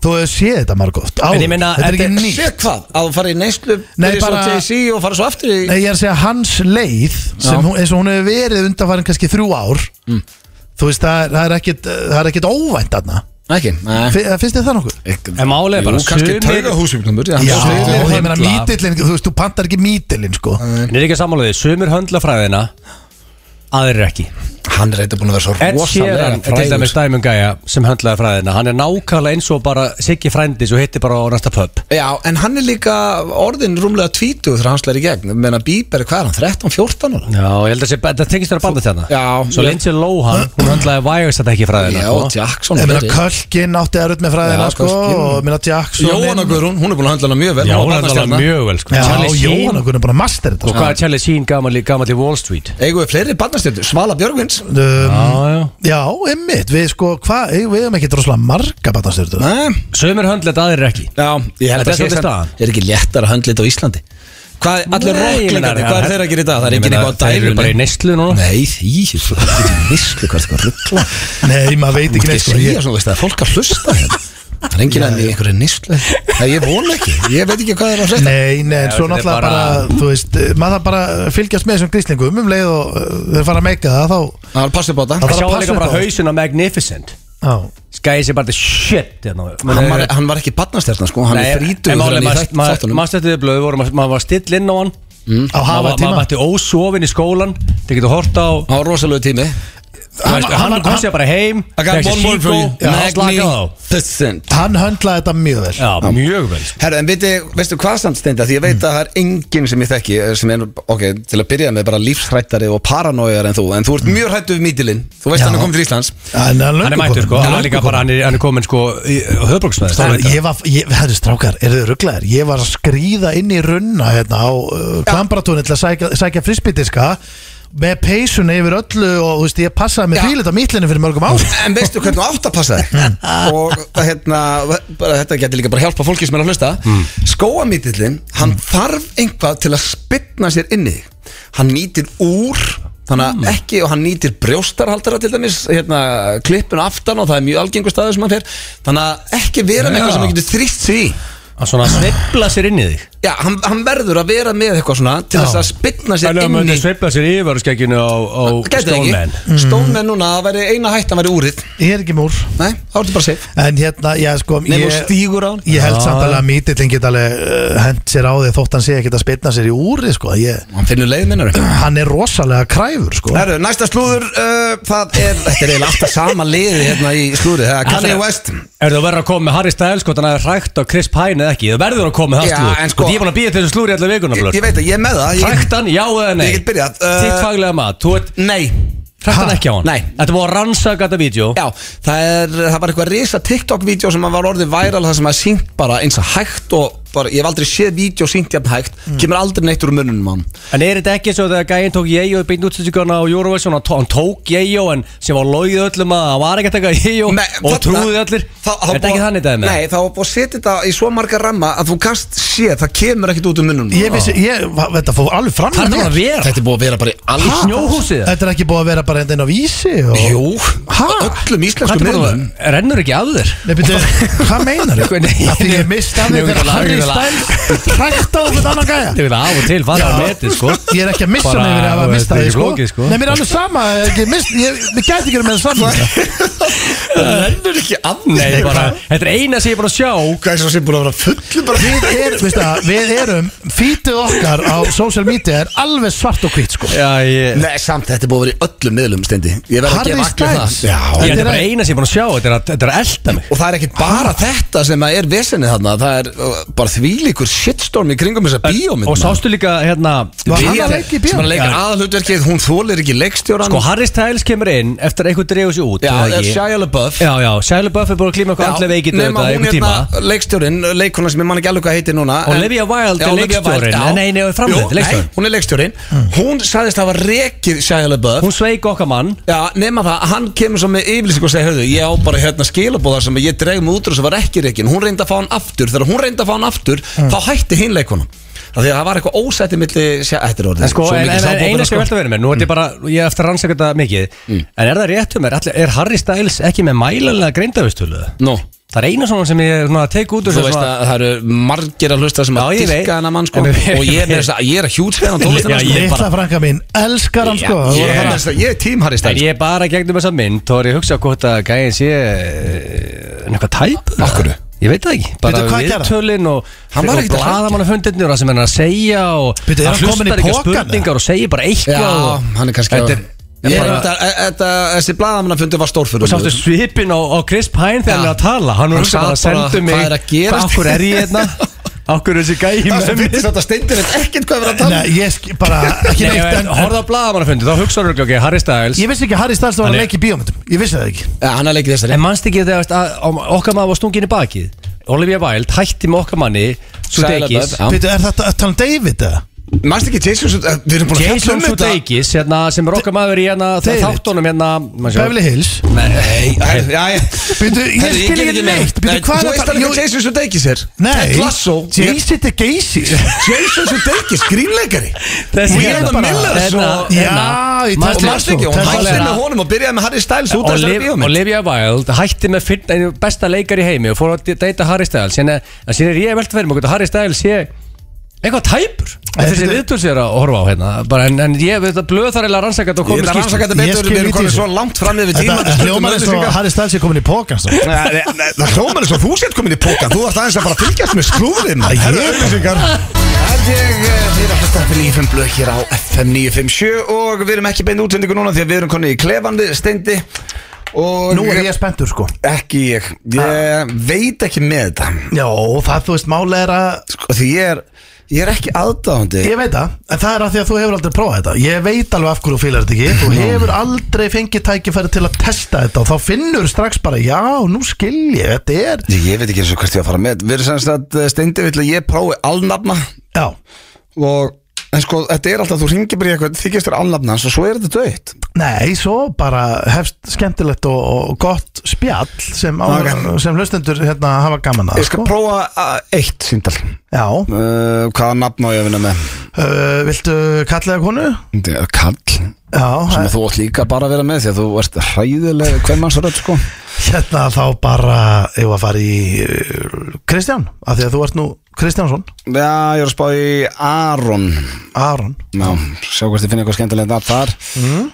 Þú hefur séð þetta margótt En ég meina, Þetta er ekki þetta- nýtt Sér hvað, að þú farið í neyslu Nei, byrja svo bara- á Jay-Z og farið svo aftur í Nei, ég er að segja hans leið sem hún, eins og hún hefur verið undanfærin kannski þrjú ár Þú veist, það er, það er ekkit það er ekkit óvænt aðna Ekki, nei Finnst þið það nokkuð? En málið er bara, Jú, kannski sumir- taugahúsvíknumur Já, sumir og ég meina höndla. mítillin, þú veist, þú pantar ekki mítillin sko En er ekki að sammála því Sumir höndla fræðina Aðrir ekki Hann er eitthvað búin að vera svo Ed Sheeran er til dæmis frægur dæmum gæja sem höndlaði fræðina Hann er nákvæmlega eins og bara Siggi frændis og hittir bara á næsta pub Já, en hann er líka orðin rúmlega tvítuð þegar hann slæri í gegn Menna Bieber, hvað er hann, 13, 14 ára? Já, ég held að sé, þetta tengist þér að banda þérna Já. Svo Lindsay Lohan, hún höndlaði Wires þetta ekki fræðina sko. Já, Jackson Ég meina fleiri. Kölkin átti að rutt með fræðina Já, sko Kölkin. og ég meina Jackson Jóhanna Guðrún, hún er búin að höndla hana mjög vel Já, var hún höndlaði barnastjarna. Já, Jóhanna Guðrún er bara að master þetta hana mjög vel sko. Charlie Sheen Og sko hvað er Charlie Sheen gammal í, gamall í Wall Street? Eigum við fleiri barnastjöndu, Svala Björgvins um, já Já, ymmit, við sko, hvað, ey, við hefum ekki droslega marga batastyrtu Nei, Sumir höndlet aðrir ekki já, ég held Þetta er að sé svolítið samt- staðan. Er ekki léttar að höndla þetta á Íslandi? Hvað, allir Nei, ég meina, rocklingandi, hvað er þeirra að gera í dag? Það er Ég enginn meina, eitthvað á Þeir eru bara í dælunni neyslu núna Nei, því, þú getur mislu hvað þetta ruggla Nei, maður veit Þú mátt ekki neitt ekki sko segja ég, svona, veist það, fólk að hlusta hérna Það er enginn enn í einhverju nýslu Nei, ég vona ekki, ég veit ekki hvað er að frétta Nei, nei, en Nei, svo þetta er náttúrulega bara, bara- þú veist, eh, maður þarf bara að fylgjast með þessum gríslingum um leið og eh, þeir fara að meika það, þá, Það er passið bóta Það þarf Það að sjá passa líka upp bara á það. hausin á Magnificent já, Skæði sér bara þetta shit hérna. hann var, hann var ekki barnastjarnar sko, hann er frítur En þegar máli, hann í þætt- maður þáttunum Mm. stætti þið blöð voru- Maður var still inn á hann á hafa Maður tíma mætti ósofin í skólan Þið getur hort á Það var rosalegu tími þú veist, Hann kom sér bara heim I got fékk sér one more for síkó, you já, slakaði á. Magni the Scent Hann höndlaði þetta mjög vel Já, mjög vel sko. Herru, en veitu, veistu hvað samt steinda Því ég veit að það er enginn sem ég þekki eh, sem er, ok, til að byrja með bara lífsrættari og paranoiðar en þú, en þú ert mjög rættu við mítilinn, þú veist Já. hann er komið til Íslands Hann er Hann löngu er mættur sko kominn, Hann er löngu líka bara, hann er- hann er komin sko Það Höfbruksmaður er, ég var, ég, herri strákar, eru þið rugglaðir? Ég var að skríða inn í runna hérna á uh, klambratúni til að sækja, sækja frisbytiska með peysunni yfir öllu og þú veist, ég passaði með Já. fílit á mítlinu fyrir mörgum árum. En veistu hvernig þú átt að passa þig Og hérna, bara, þetta getur líka bara hjálpa fólki sem er að hlusta mm. hann þarf einhvað til að spytna sér inni Hann nýtir úr, þannig að ekki Og hann nýtir brjóstarhaldara til dæmis hérna, Klippun aftan og það er mjög algengur staður sem hann fer Þannig að ekki vera með Já. eitthvað sem hann getur þrýst sig í Hann svona sveifla sér inn í þig Já, hann, hann verður að vera með eitthvað svona Til Já. þess að spytna sér Þannig að inni maður sveifla sér yfir skegginu á, á Gæti það Stoneman ekki, Stoneman núna, það væri eina hættan væri úrið Ég er ekki múr. Nei, þá ertu bara safe En hérna, já sko, Nefnum ég, stígur á hann ég held Já. samt alveg að mítilin geta alveg uh, hent sér á því þótt hann sé ekki að spilna sér í úri, sko. Ég, Hann finnur leið minnar hann er rosalega kræfur, sko. Herru, næsta slúður uh, Það er, þetta er eiginlega alltaf sama liði hérna í slúður Það er Kanye West Er þú verður að koma með Harry Styles hvort hann hafi hrækt á Chris Pine eða ekki Þú verður að koma með það Já, en slúður sko- Og ég er búin að býja til þessu slúður í allar vikuna Ég, blöð ég veit að ég er með það ég, Hrækt hann, já eða nei Ég get byrjað, uh, Þitt faglega mat, þú ert Nei Hrækt hann Ha? ekki á hann Nei. Þetta var að rannsaka þetta vídeo Já, það, er, það var eitthvað risa TikTok-vídeó sem var orðið væral það sem að sínt bara eins og hægt og bara, ég hef aldrei séð vídeó sínt jafn hægt Mm. kemur aldrei neitt úr munnunum á hann En er þetta ekki svo þegar gæinn tók Jejo í beint útsendinguna á Eurovision Hann tó- hann tók Jejo en sem var logið öllum að hann var ekki að taka Jejo Nei, Og þarna- trúði allir þá- þá Er þetta ekki búa- þannig dæmi? Nei, þá var búið að setja þetta í svo marga ramma að þú kannst sé, það kemur ekkert út um munnum Ég vissi, ég, va- þetta fór alveg fram Það er með bara að mér. vera Þetta er búið að vera bara í alls Ha? Snjóhúsið Þetta er ekki búið að vera bara enda inn á vísi og... Jú, Ha? öllum Þetta íslensku er bara miðlum að- Rennur ekki af þér Nei, betur, hvað meinar þau? Nei, Því ég mist af nei, því nei, þegar nei, Harry Harry Þetta er Styles hrækta á þetta annan gæja Þetta vil af og til fara á netið sko Ég er ekki að missa Bara, mig yfir að hafa þetta mista er því ekki sko. flókið, sko. Nei, mér er alveg sama Ég, mist, ég, ég gæti ekki að með það saman Það verður ekki annað Nei, bara, þetta er eina sem ég er bara að sjá Hvað er svo sem búin að vera fullu bara Við, er, veistu það, við erum Fítið okkar á social media er alveg svart og hvít sko. Já, ég Nei, samt, þetta er búin að vera í öllum miðlum stendi Ég verð að Harry gefa allir Styles það Já. Þetta Þetta er bara er- eina sem ég er búin að sjá Þetta er að, þetta er að elda mig Og það er ekki bara þetta sem að er vesenið þarna Það er uh, bara þvílíkur shitstorm í kringum þessa bíómynd Og sástu líka hérna Var Bíó- hann að leika Sem í að bíómynd? leika Já. aðalhutverkið, hún þólir ekki leikstjóran Sko Harry Styles kemur inn Eftir að eitthvað dregur sér út Já, eða er ekki? Shia LaBeouf já, já Shia LaBeouf er búin að klíma eitthvað andlega veikið nema Þetta hún einhver tíma hérna, leikstjórin, leikona sem ég man ekki alveg hvað heitir núna en- Olivia Wilde er Olivia leikstjórinn. Wilde, já. Nei, nei, nei, hún er framleidd, Jú, leikstjórinn. Nei, hún er leikstjórin Hún sagðist hafa rekið Shia LaBeouf Hún sveik okkar mann Já, nema það, hann kemur svo með yfirlýsing og segir, höfðu, ég á bara hérna skilabóðar sem ég dreig mig út úr sem var ekki reikin, hún reyndi að fá hann aftur, þegar hún reyndi að fá hann aftur, Mm. þá hætti hinn leikunum. Það því að það var eitthvað ósætti milli, sjá, þetta er orðið, En sko, svo en, mikið en, en sábóðar, eina sem ég velta verið mér Mm. Nú er þetta bara, ég hef eftir að rannsaka þetta mikið En er það rétt um mér, allir, er Harry Styles ekki með mælanlega greindavistölu? Nú, Það er eina svona sem ég er svona að teika út úr þú þessu veist svona- að það eru margir að hlusta sem Já, að ég veit. dyrka hennar mann, sko, En- og ég er, ég, ég er að hjúts hennar tónlistina, Já, sko. ég Litla bara- franka mín, elskar hann sko. Ég yeah. er bara- ég er tím Harry En Styles. ég er bara gegnum þessa mynd Þá er ég að hugsa hvort að gæðin sé eh, Nekvað tæp Af hverju? Ég veit það ekki Bara Veitu, hvað gerði hann? viðtölin og Hann var ekkert að hlæja. Blaðamann og fundirnir og það sem hann er að segja og Veitu, er hann kominn í hlustar ekki á pokan, spurningar og segir bara Já, eitthvað og- hann er kannski að... Þetta er- Ég er bara- þetta, þetta, þessi blaðamannafundi var stórfur Og sástu svipin á, á Chris Pine þegar Já. hann er að tala Hann Hann var að bara sat bara, sendu mig "Hvað er að gerast?" Akkur er ég hérna Akkur er þessi gæi Það sem með mér finnst þetta steindir ekkert hvað við erum að tala um. Nei, ég sk- bara ekki Nei, neitt en en, horfða á blaðamannafundi Þá hugsaður ekki, ok, Harry Styles Ég vissi ekki að Harry Styles var Hann að er- leika í bíómyndum Ég vissi það ekki Já, hann er leikið þessari En mannst ekki þegar veist, að- að- okkar maður var stungin í bakið Olivia Wilde hætti með okkar manni Sudeikis Já. Veitu, er þetta að tala um David eða? Mannst ekki Jason Sude- eh, Við erum búin að fjalla Jason um þetta Sudeikis hérna, sem er okkar maður í hérna, David. þáttunum hérna, maður sjá- Beverly Hills Nei, herri, já, já Bíddu, ég Herri, skil get ekki neitt. Bíddu, Nei, hvað er Þú að veist tala- alveg Jú- hvað Jason Sudeikis er Nei, Ted Lasso Jason er Gacy Jason Sudeikis, grínleikari Þessi Og ég hérna er bara- það Millers hérna, og Já, hérna, í manstu- Og mannst ekki, Ted hún hætti Lasso. með honum og byrjaði með Harry Styles út af þessari Olivia, bíómynd Olivia Wilde hætti með fyrn, einu besta leikar í heimi og fór að deyta Harry Styles en en síðan er ég velt að vera með okkur að Harry Styles sé eitthvað tæpur þessi þetta- viðtöls ég er að horfa á hérna bara, en, en ég veit að blöð þar eiginlega rannsaka þetta og Ég er komið að rannsaka skýrt þetta Ég betur, við skil erum lítið komin í svo þessu. langt fram yfir tíma Þetta hljómar eins og Harry Styles er komin í sko. pókans Ég Það hljómar eins og þú sétt komin í pókan Þú ert aðeins að bara fylgjast með skrúðin Æ, ég- Herra, auðlýsingar Held ég eh, þið er að hlusta fyrir 95 blöð hér á FM 957 Og við erum ekki beinu útsendingu núna Því að við erum konni í klefandi steindi Og Nú er ég Ah. spenntur sko ekki ég Ég veit ekki með þetta Já, það þú veist, mála er að sko, Því ég er, ég er ekki aðdáðandi Ég veit það, en það er að því að þú hefur aldrei prófað þetta Ég veit alveg af hverju þú fílar þetta ekki Þú hefur aldrei fengið tækifæri til að testa þetta Og þá finnur strax bara, já, nú skil ég Þetta er, Ég, ég veit ekki eins og hvert ég á að fara með Við erum semst að eh, steindi vill að ég prófi alnafna já, Og En sko, þetta er alltaf, þú ringir bara í eitthvað, þykist þér alnafna hans og svo er þetta döitt. nei, svo bara hefst skemmtilegt og, og gott spjall sem, á, Ok. sem hlustendur hérna hafa gaman að Ég skal prófa uh, eitt síndal. Já, Uh, hvaða nafn á ég að vinna með? uh, viltu kallega konu? Þetta er Kall, Já, sem þú átt líka bara að vera með því að þú ert hræðileg hvermannsrödd, sko. Hérna þá bara Ef að fara í uh, Kristján Af því að þú ert nú Kristjánsson Já, ég er að spá í Aron. Aron Já, sjá hvort ég finn eitthvað skemmtilegt nafn þar. Mhm.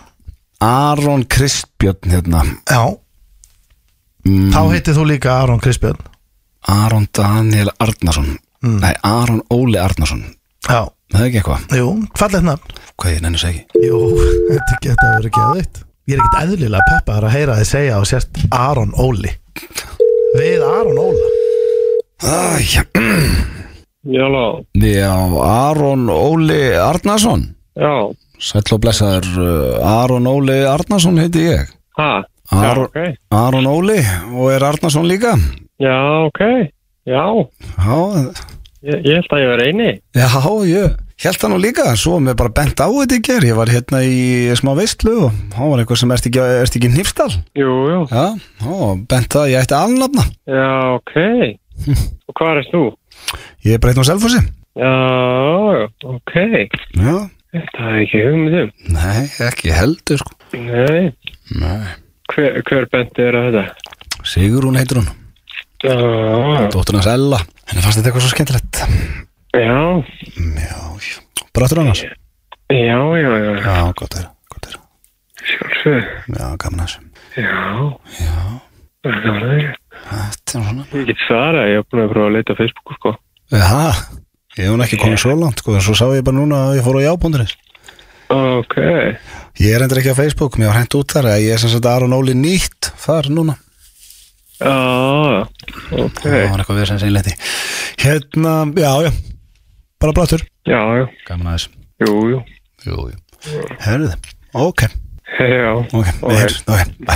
Aron Kristbjörn, hérna. Já Mm. Þá heitir þú líka Aron Kristbjörn Aron Daniel Arnarsson. Nei, Aron Óli Arnarsson. Já, Það er ekki eitthvað. jú, fallegt nafn Hvað ég nenni að segja? Jú, þetta geta verið ekki að veit Ég er ekkert eðlilega peppaður að heyra þið segja og sért Aron Óli Við Aron Óla Æ, Já, lá. já, Aron Óli Arnarsson. já, Sæll og blessaður, uh, Aron Óli Arnarsson heiti ég. ha, já, Ar ok, Aron Óli og er Arnarsson líka? já, ok, já, Já, ég, ég held að ég var eini, já, ég held það nú líka, svo mér bara bent á þetta í ger, ég var hérna í smá veistlu og hann var eitthvað sem ert ekki, ert ekki nýftal. jú, jú, Já, og bent það, að ég ætti alnafna. já, ok, og hvað er þú? Ég er breytn á selfhúsi. Já, ok, Já, þetta er ekki hugmyndum, nei, ekki heldur sko. nei, Nei, hver, hver bendi er að þetta? Sigrún heitir hún, Já, dóttur hans Ella. Henni fannst þetta eitthvað svo skemmtilegt Já, Já, já. Bráttur annars? já, já, já, Já, gott er, gott er sjálfsög, Já, gaman að þessu já. Já. Það var það ekki. Þetta er svona Ég get svarað, ég er búin að prófa að leita á Facebooku, sko. Já, ég hef hún ekki komið svo langt sko, en Svo sá ég bara núna að ég fór á jábúnduris Ok, Ég er endur ekki á Facebook, mér var hent út þar eða Ég er sem sagt Aron Óli nýtt þar núna já, ok, Það var eitthvað við sem segja leti Hérna, já, já Bara bráttur já, já, Gaman að þessu jú, jú, Jú, jú Herðu, ok Ok, já, við heyrðum, ok, bæ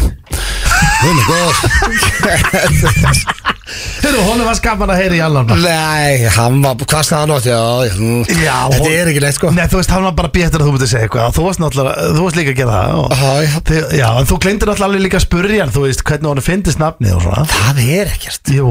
Hún er góð Þegar honum var skaman að heyra í allan Nei, hann var, hvað staði hann átt, já, já, mm. Já, Þetta hún- er ekki neitt, sko Nei, þú veist, hann var bara betur að þú myndir segja eitthvað Þú varst náttúrulega, þú varst líka að gera það og... Já, já. Þi, Já, en þú glindir náttúrulega alveg líka að spurja hann Þú veist, hvernig honum fyndist nafnið og svona Það er ekkert Jú,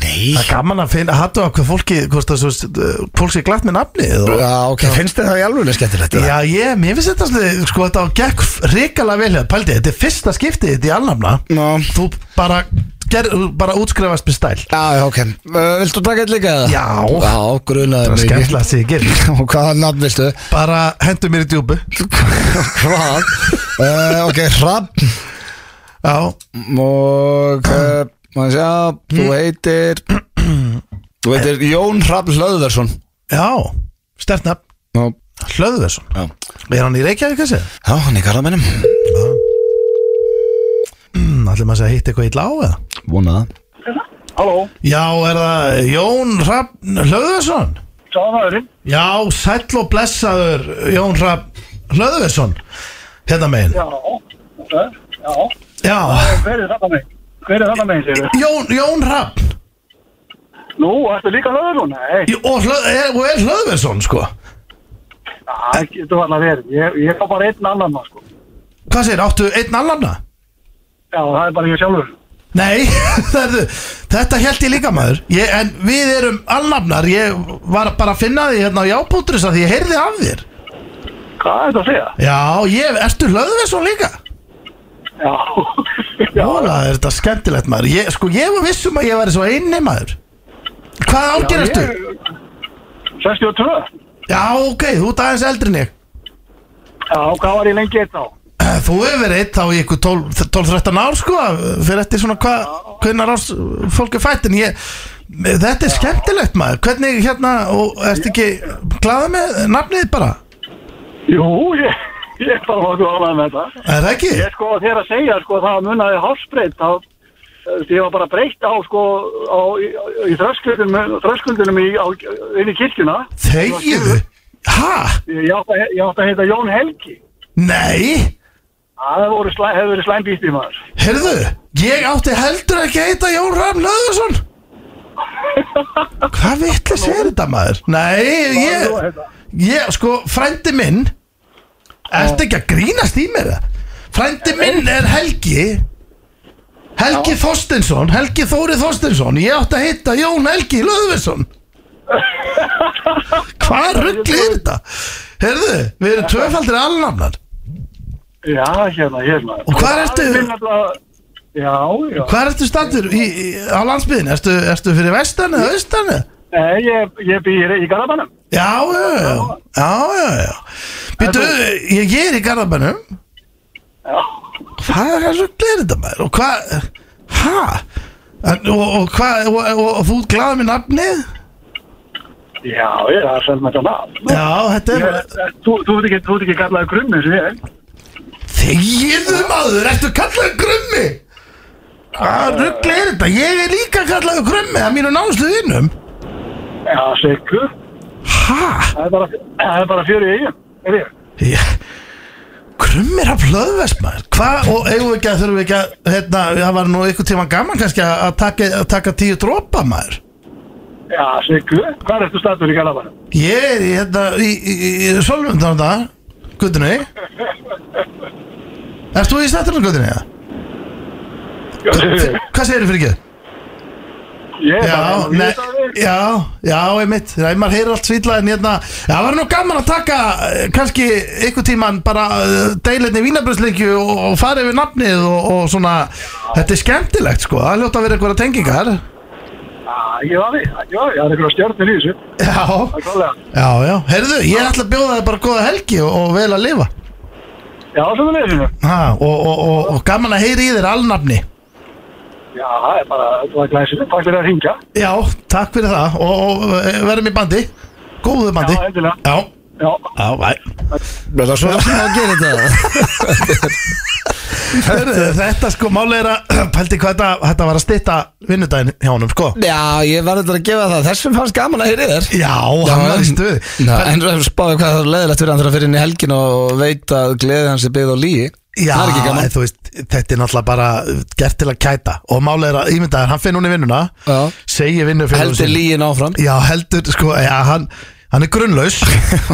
Nei það er gaman að finna Hattu að hvað fólki, hvort það svo Fólk sé glatt með nafnið og... Já, ok, finnst þið það í alveg skemmtilegt eða? Já, ég, mér finnst þetta svona, sko, þetta gekk hrikalega vel hér, pældi, þetta er fyrsta skiptið þetta í alnafna, Ná. þú bara, ger, þú bara útskrifast með stæl, Já, já, ok uh, Viltu taka eitt líka? eða? Já. Já, grunaði það mig er ekki. skemmtilega að segja gerir, Og hvaða nafn viltu? bara hendur mér í djúbu, Hvað? uh, ok, Hrafn já, Og, uh, maður sé að Þú heitir Þú heitir Jón Hrafn Hlöðversson já, stertna, Já, Hlöðversson, já er hann í Reykjavík þessi? Já, hann er garðamennum Mm, Allir maður að segja hitt eitthvað illa á eða? Vona það Halló, Já, er það Jón Hrafn Hlöðversson? sáðanæðurinn. Já, sæll og blessaður Jón Hrafn Hlöðversson, hérna megin, Já, blessaður. já. já, Hver er þetta meginn? Hver er þetta meginn, segir þú? Jón, Jón Hrafn, Nú, ertu líka löðurinn? Nei, Jú, og, hlöð, er, og er Hlöðversson sko það getur varlega verið. Ég, ég fá bara einn annan, maður, sko. hvað segir, áttu einn allanna? Já, það er bara ég sjálfur. Nei, þærðu, þetta held ég líka maður ég, en við erum alnafnar ég var bara að finna því hérna á jábúndurins að ég heyrði af þér Hvað er þetta að segja? já, ég, ertu Hlöðversson líka? Já, já. Jóla, er þetta skemmtilegt maður ég, sko, ég var vissum að ég væri svo einni maður hvað árgerastu? Já, ég- 62. ok, þú ert aðeins eldri en ég Eh, Já, hvað var ég lengi eitt á? Þú hefur verið eitt þá í ykkur 12-13 ár sko fyrir eftir svona hvað hvernar ás fólk er fætt en ég þetta er skemmtilegt maður hvernig hérna og ertu ekki glaða með nafnið bara Jú, ég, ég er bara nokkuð ánægð með þetta. er það ekki? Ég sko þér að segja sko það munaði hálfsbreytt þá eh, ég var bara breytt á sko á, í, í þröskuldunum, þröskuldunum í, á, inn í kirkjuna Þegiðu? Ha? ég átti að, ég átti að heita Jón Helgi Nei? það voru slæ, hefur verið slæmbýtti maður Herðu, ég átti heldur ekki að heita Jón Ram Löðursson Hvað vitlega sér þetta maður? Nei, ég, ég sko, frændi minn Ertu ekki að grínast í mér það? Frændi minn er Helgi Helgi Þorstinsson Helgi Þóri Þorstinsson Ég átti að hitta Jón Helgi Löðvinsson Hvað ruggli er þetta? Herðu, við erum tvöfaldir alnafnar já hérna hérna Og hvar ertu? Afi minn nefnilega- já já Hvað ertu standur í, í, á landsbyðin? Ertu, ertu fyrir vestan eða austan eða? Nei, Eh, ég, ég býr í Garabannum Já, já, já, já, já, já. Býtu, ég, ég er í Garðabænum já Hvað er svo glerir þetta maður? Og hvað, hæ? Og, og, hvað- og, og, og þú glæðið mér nafnið? já ég er að senda með þetta nafn Já, þetta er bara Ég- eh, þú þú ert ekki, þú ert ekki kallaði grunni sem ég er. Þegiðu maður, ertu kallaður krummi? Hvað ruggli er þetta? Ég er líka kallaður krummi að mínu náðslu vinnum já seggu Hæ? það er bara, það er bara fjör í eigin er ég Ég- Krummi er að plöðvest maður Hvað, og eigum við ekki að þurfum við ekki að hérna, það var nú einhvern tíma gaman kannski að að taka, að taka tíu dropa maður Já, Siggu, hvað ertu statur í Garabænum? Ég er í, hérna, í, í, í, í Sölvundarna Guðinni Erst þú í stætturinn Guðinni? Hvað segir þið fyrir ekki? Ég er Já, bara ne, ég er bara- já, já, einmitt Það er maður heyrir allt svítla en hérna Það var nú gaman að taka eh, kannski einhvern tíman bara eh, deilinni vínabröðsleikju og, og fara yfir nafnið og, og svona Þetta er skemmtilegt sko, það hljóta að vera einhverja tengingar Já, ég var við, já, ég er einhverja stjórnir í þessu, Já, það er klálega. já, já Herðu, ég ætla að bjóða þér bara góða helgi og, og vel að lifa Já, sem við leysinu. ha, og, og, og, og gaman að heyri í þér alnafni Já, það er bara, það var glæsilegt, takk fyrir að ringja. Já, takk fyrir það og, og e, verðum í bandi Góðu bandi Já, endilega, Já, já. já, væ Það er svona að gera þetta Herðu, þetta sko máli er að Pældi hvað þetta, þetta var að stytta vinnudaginn hjá honum, sko Já, ég verður þetta að gefa það Þessum fannst gaman að heyri þér Já, hann var í stuð Ná, En þú spáði hvað það er leðilegt fyrir hann þegar að fyrir inn í helgin og veit að gleði hans er byggð á líi Já, Það er ekki gaman en þú veist, þetta er náttúrulega bara gert til að kæta og málega er að ímyndaður, hann finn hún í vinnuna Já. segir vinnufélagum Heldur líin áfram Já, heldur, sko, já, hann, hann er grunnlaus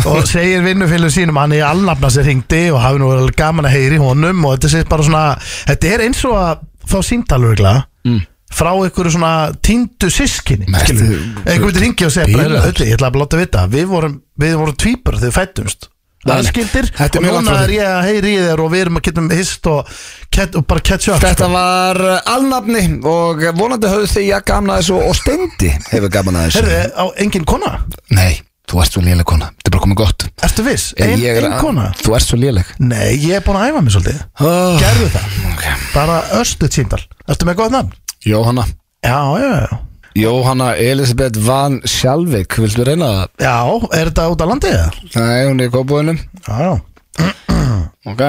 og segir vinnufélagum sínum hann er allnafna sér hringdi og hafi nú verið alveg gaman að heyri honum og þetta sé bara svona þetta er eins og að fá síntalurgla mm. frá einhverju svona týndu sískinni Mertu- skilur. einhverju myndir hringi og segja bara, Bílaður. "Heyrðu, Öllu, ég ætla að láta vita, við vorum, við vorum tvíbur þegar við fættumst Nei, nei. aðskildir Þetta er og mjög langt núna frá er því. ég að heyri í þér og við erum að getum hist og, ket, og bara catch up sko." Þetta var uh, alnafni og vonandi höfðu þig að gamna þessu og steindi hefur gaman að þessu Herðu, á engin kona? Nei, þú ert svo léleg kona, þetta er bara komið gott Ertu viss? Ég- Ein, ég er ein að- kona? Þú ert svo léleg Nei, ég er búin að æfa mig svolítið oh, Gerðu það, okay. bara östuð síndal Ertu með gott nafn? Jóhanna Já, já, já Jóhanna Elisabeth Van Sjálvik Viltu reyna það? Já, er þetta út á landið? eða? Nei, hún er í kópúinum Já, já Ok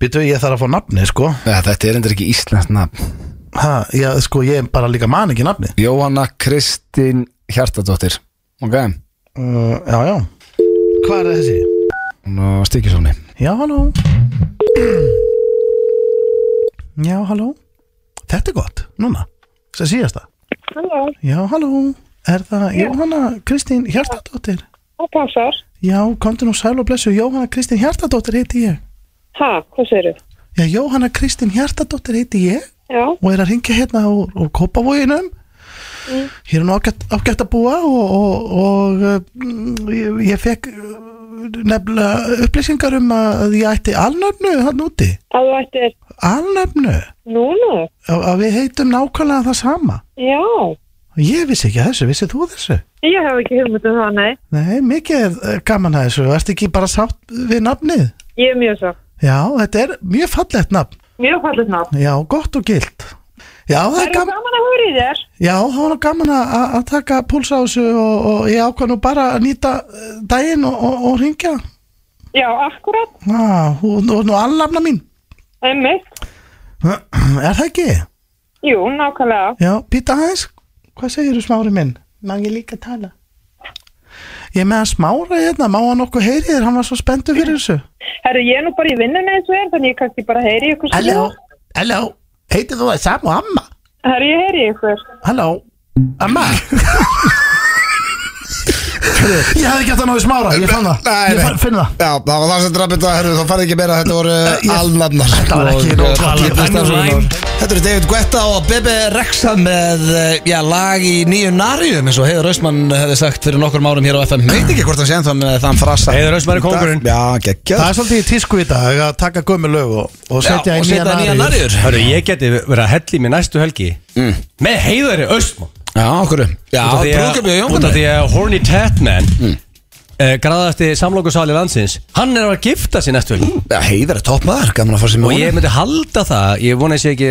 Býtu, ég þarf að fá nafni, sko ja, Þetta er endur ekki íslenskt nafn ha, já, Sko, ég bara líka man ekki nafni Jóhanna Kristín Hjartadóttir Ok uh, Já, já Hvað er þessi? Hún á stíkisóni Já, halló Já, halló Þetta er gott, núna Sem síðasta Halló, Já, halló Er það Jóhanna Kristín Hjartadóttir? það passar. Já, komdu nú sæl og blessu Jóhanna Kristín Hjartadóttir heiti ég Ha, hvað segir þau? Já, Jóhanna Kristín Hjartadóttir heiti ég Já, og er að ringja hérna úr, úr Kópavoginum hér er nú ágætt, ágætt að búa og, og, og uh, mm, ég, ég fekk uh, nefnilega upplýsingar um að ég ætti alnöfnu hann úti að þú ættir alnöfnu, núna? að, að við heitum nákvæmlega það sama Já, ég vissi ekki að þessu, vissið þú þessu? ég hef ekki hugmynd um það, nei. Nei, mikið er eh, gaman að þessu, ertu ekki bara sátt við nafnið? Ég er mjög svo. Já, þetta er mjög fallegt nafn, Mjög fallið nátt. já, gott og gilt Já, það Það er er gaman gaman að höra í þér. Já, það var nú gaman að- að að taka púlsa á þessu og, og ég ákvað nú bara að nýta eh, daginn og, og, og ringja. Já, akkurat. Á, hún er nú allafna mín. Einmitt. Er það ekki? Jú, nákvæmlega. Já, býta aðeins. Hvað segir þú smári minn? Má ég líka tala? Ég með að smára hérna, má hann okkur heyri þér, hann var svo spenntur fyrir þessu. Herru, ég er nú bara í vinnunni eins og er, þannig ég kannski bara heyri ykkur sem ég- halló, heitir þú það Sam og Amma? Herru, ég heyri ykkur. Halló, Amma? ég hafði ekki hægt að náðu smára, ég fann það. Nei, Ég nei. fann- finn það. Já, það var það sem drafði þetta, herru, þá farið ekki meira, þetta voru ég- uh, alnafnar Þetta var ekki Og, nóg uh, talað. dýpið Önnur starfsmannar. line. Þetta eru David Guetta og Bebe Rexa með, uh, já, lag í nýju narjum eins og Heiður Rausmann hefði sagt fyrir nokkur árum hér á FM Veit ekki hvort hann sé ennþá með þann frasa Heiðar Austmann er kóngurinn. Já, Það geggjað er svolítið í tísku í dag að taka gömur lög og, og setja Já, í og nýja setja nýja narið narjur Hörru, ég geti verið að helli mér næstu helgi Með heiðari Östmann Já, okkur Já, Út af því að- brúðkaup í Út af Jónkunni því að Horny Tatman mm. uh, Graðasti samlókusali landsins Hann er að fara að gifta sig næstu helgi Já, Heiðar er topp maður, gaman að fara sem Og ég myndi halda það, ég vona að ég sé ekki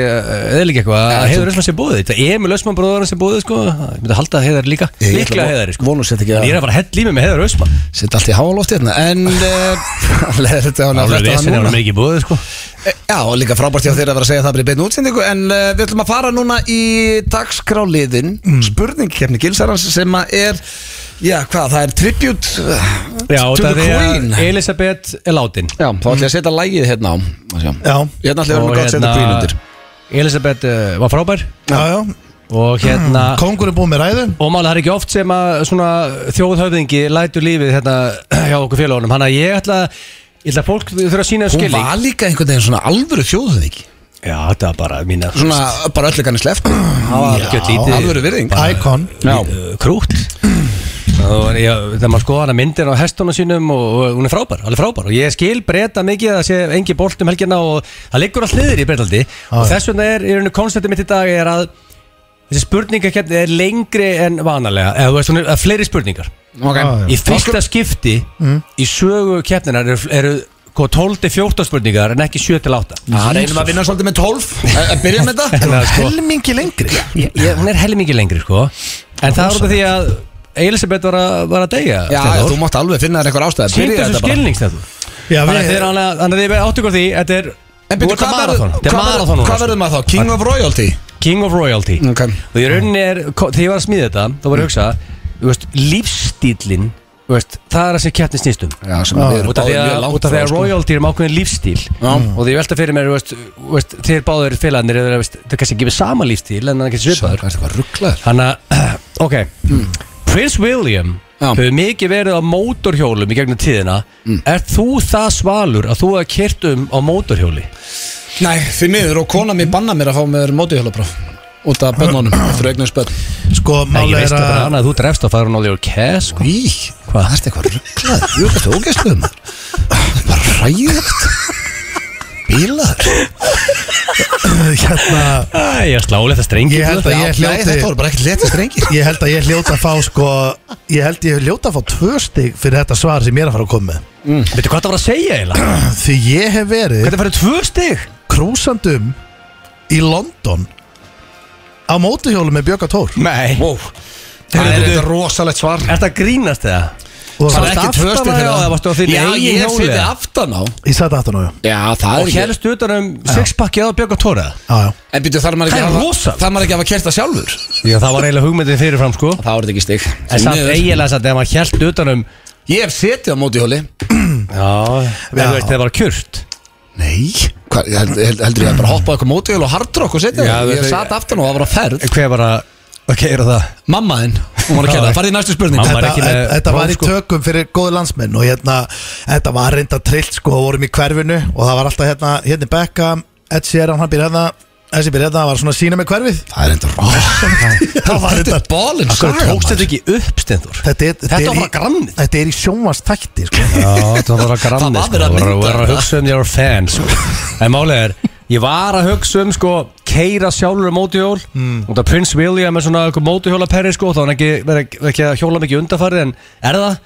eðlík eitthvað að Heiðar Ösmann sé búið Þetta er Emil Ösmann bróðurinn sem búið sko. Ég myndi halda að Heiðar líka, Ég- ég ætla líklega að- Heiðar sko. vona að setja ekki að- En Ég er að fara að hella í mig með Heiðar Ösmann Sitt allt í háalofti hérna En, uh, leiðir þetta á hann Alveg frétta það vesin er núna. Mm. hann ekki búið sko. Eh, Já, og líka frábært hjá þér að vera að segja það bara í beinu útsendingu En uh, við ætlum að fara núna í dagskráliðin mm. Spurningkefni Gilsarans sem að er Já, hvað, það er tribute uh, Já, to út the af því Queen að Elisabeth er látin Já, þá ætlum ég að setja lægið hérna á Má sjá. Já, Hérna ætlum ég að vera með gott setja Queen undir Elisabeth uh, var frábær já, já Og Mm. hérna Kongur er búið með ræðu Og máli, það er ekki oft sem að svona þjóðhöfðingi lætur lífið hérna hjá okkur félagunum Þannig að ég ætla, ég ætla að fólk þurfa að sína Hún skilning var líka einhvern veginn svona alvöru þjóðuð ekki Já, þetta var bara mína Svona bara öllu kanni sleft algjört lítið Alvöru virðing Icon Já, uh, krútt og ég, þegar maður skoða hana myndir á hestunum sínum og, og hún er frábær, alveg frábær og ég skil breyta mikið að það sé engi bolt um helgina og það liggur allt niður í breytaldi og þess vegna er, í rauninu konceptið mitt í dag er að Þessi spurningakefni er lengri en vanalega eða þú veist, hún er eða fleiri spurningar Ok Já, já. Í fyrsta skipti í sögu keppninar eru, eru sko, 12-14 spurningar en ekki 7-8 Það reynum að vinna svolítið með 12 að- að byrja með þetta Þannig að sko, Helmingi lengri ég, ég- hún er helmingi lengri sko En það er út af því að Elisabeth var að, var að deyja Já, Stefán. þú mátt alveg finna þér einhver ástæð Sýndu þessu skilning Stefán. Já, Þannig að við, þið er alveg Þannig að þið er áttu ykkur á því Þetta er En byrju, Nú er þetta hvað marathon. verður- Þetta er hvað verður- marathon núna, Hvað verður maður þá? King of Royalty sko. King of Royalty Ok Og í rauninni er, ko- þegar ég var að smíða þetta Þá var ég að hugsa, þú veist, lífstílin þú veist, Það er að sem keppni snýst um Já, sem við erum Út af því báðir mjög að- langt út af því frá, að sko. royalty er um ákveðin lífstíl Og því ég velta fyrir mér, þú veist, þú veist Þeir báður félagarnir, eru, þú veist, það er kannski ekki við sama lífstíl En það er kannski Sjöpaður svipaður Það er eitthvað rugglaður Þannig að, ok Prince William Já. hefur mikið verið á mótorhjólum í gegnum tíðina mm. Er þú það svalur að þú hefur kert um á mótorhjóli? Nei, því miður og kona mér banna mér að fá mér mótihjólapróf Út af bönnunum, eftir augnum spönn sko, Nei, ég máli veist er það bara að annað að þú drefst að fara hún á því og kæs sko. Í, Hvað? það er eitthvað rugglaður Jú, þetta er ógæsluðum Það er bara ræðið Bílaður hérna, Æ, ég slálega það strengi Ég held að ég Já, nei, hljóti- Þetta voru bara ekkert letið strengir Ég held að ég hljóta að fá sko Ég held ég hljóta að fá tvö stig fyrir þetta svar sem ég er að fara að koma með Veitu hvað það var að segja eiginlega? Því ég hef verið Hvernig færðu tvö stig? krúsandum í London á mótuhjólu með Björga Tór Nei wow. Það er þetta rosalegt svar Er það grínast eða? og Sá- það, Varstu aftan á tvöstig já, fyrir eða varstu á þínu Já, eigin ég hjóli, seti eða? aftan á ég sagði aftan á já Já, það Og er ekki helst utan um sixpakki á Björg og Tóra Já, já. En býttu þar maður ekki Það er að hafa- rosalegt. þarf maður ekki að hafa kert það sjálfur Já, það var eiginlega hugmyndin fyrirfram sko Það voru þetta ekki stig En Því samt miður. eiginlega samt ef maður held utan um Ég hef setið á mótihjóli Já, en þú veist það var kjört Nei Hva, held, held, Heldur ég að bara hoppa á eitthvað mótihjól og hardrock og setja Já, það Ég þetta- satt aftan og það var á ferð Hver var að, ok, er það? Mamma þinn, hún var að kæra það Farði í næstu spurning Mamma- Þetta- var Þetta, ekki með þetta- þetta var í próf, sko. tökum fyrir góðu landsmenn og hérna, þetta var reynda trillt sko, vorum í hverfinu og það var alltaf hérna, hérna Becka, Ed Sheeran, hann býr hérna Þessi býr hérna, það var svona að sína með hverfið Það er enda rosa Það var þetta bólin Akkur tókst þetta ekki upp, Stendur? Þetta er, Þetta var er, bara grannið. í, þetta er í sjónvastætti sko. Já, þetta var bara granni Það var sko. verið að Þú mynda var að þetta. hugsa um your fans sko. En málið er Ég var að hugsa um sko Keira sjálfur um mótihjól Hmm. Og það Prince William er svona einhver mótihjólaperri sko Þá er hann ekki, verið, ekki að hjóla mikið undanfarið En er það?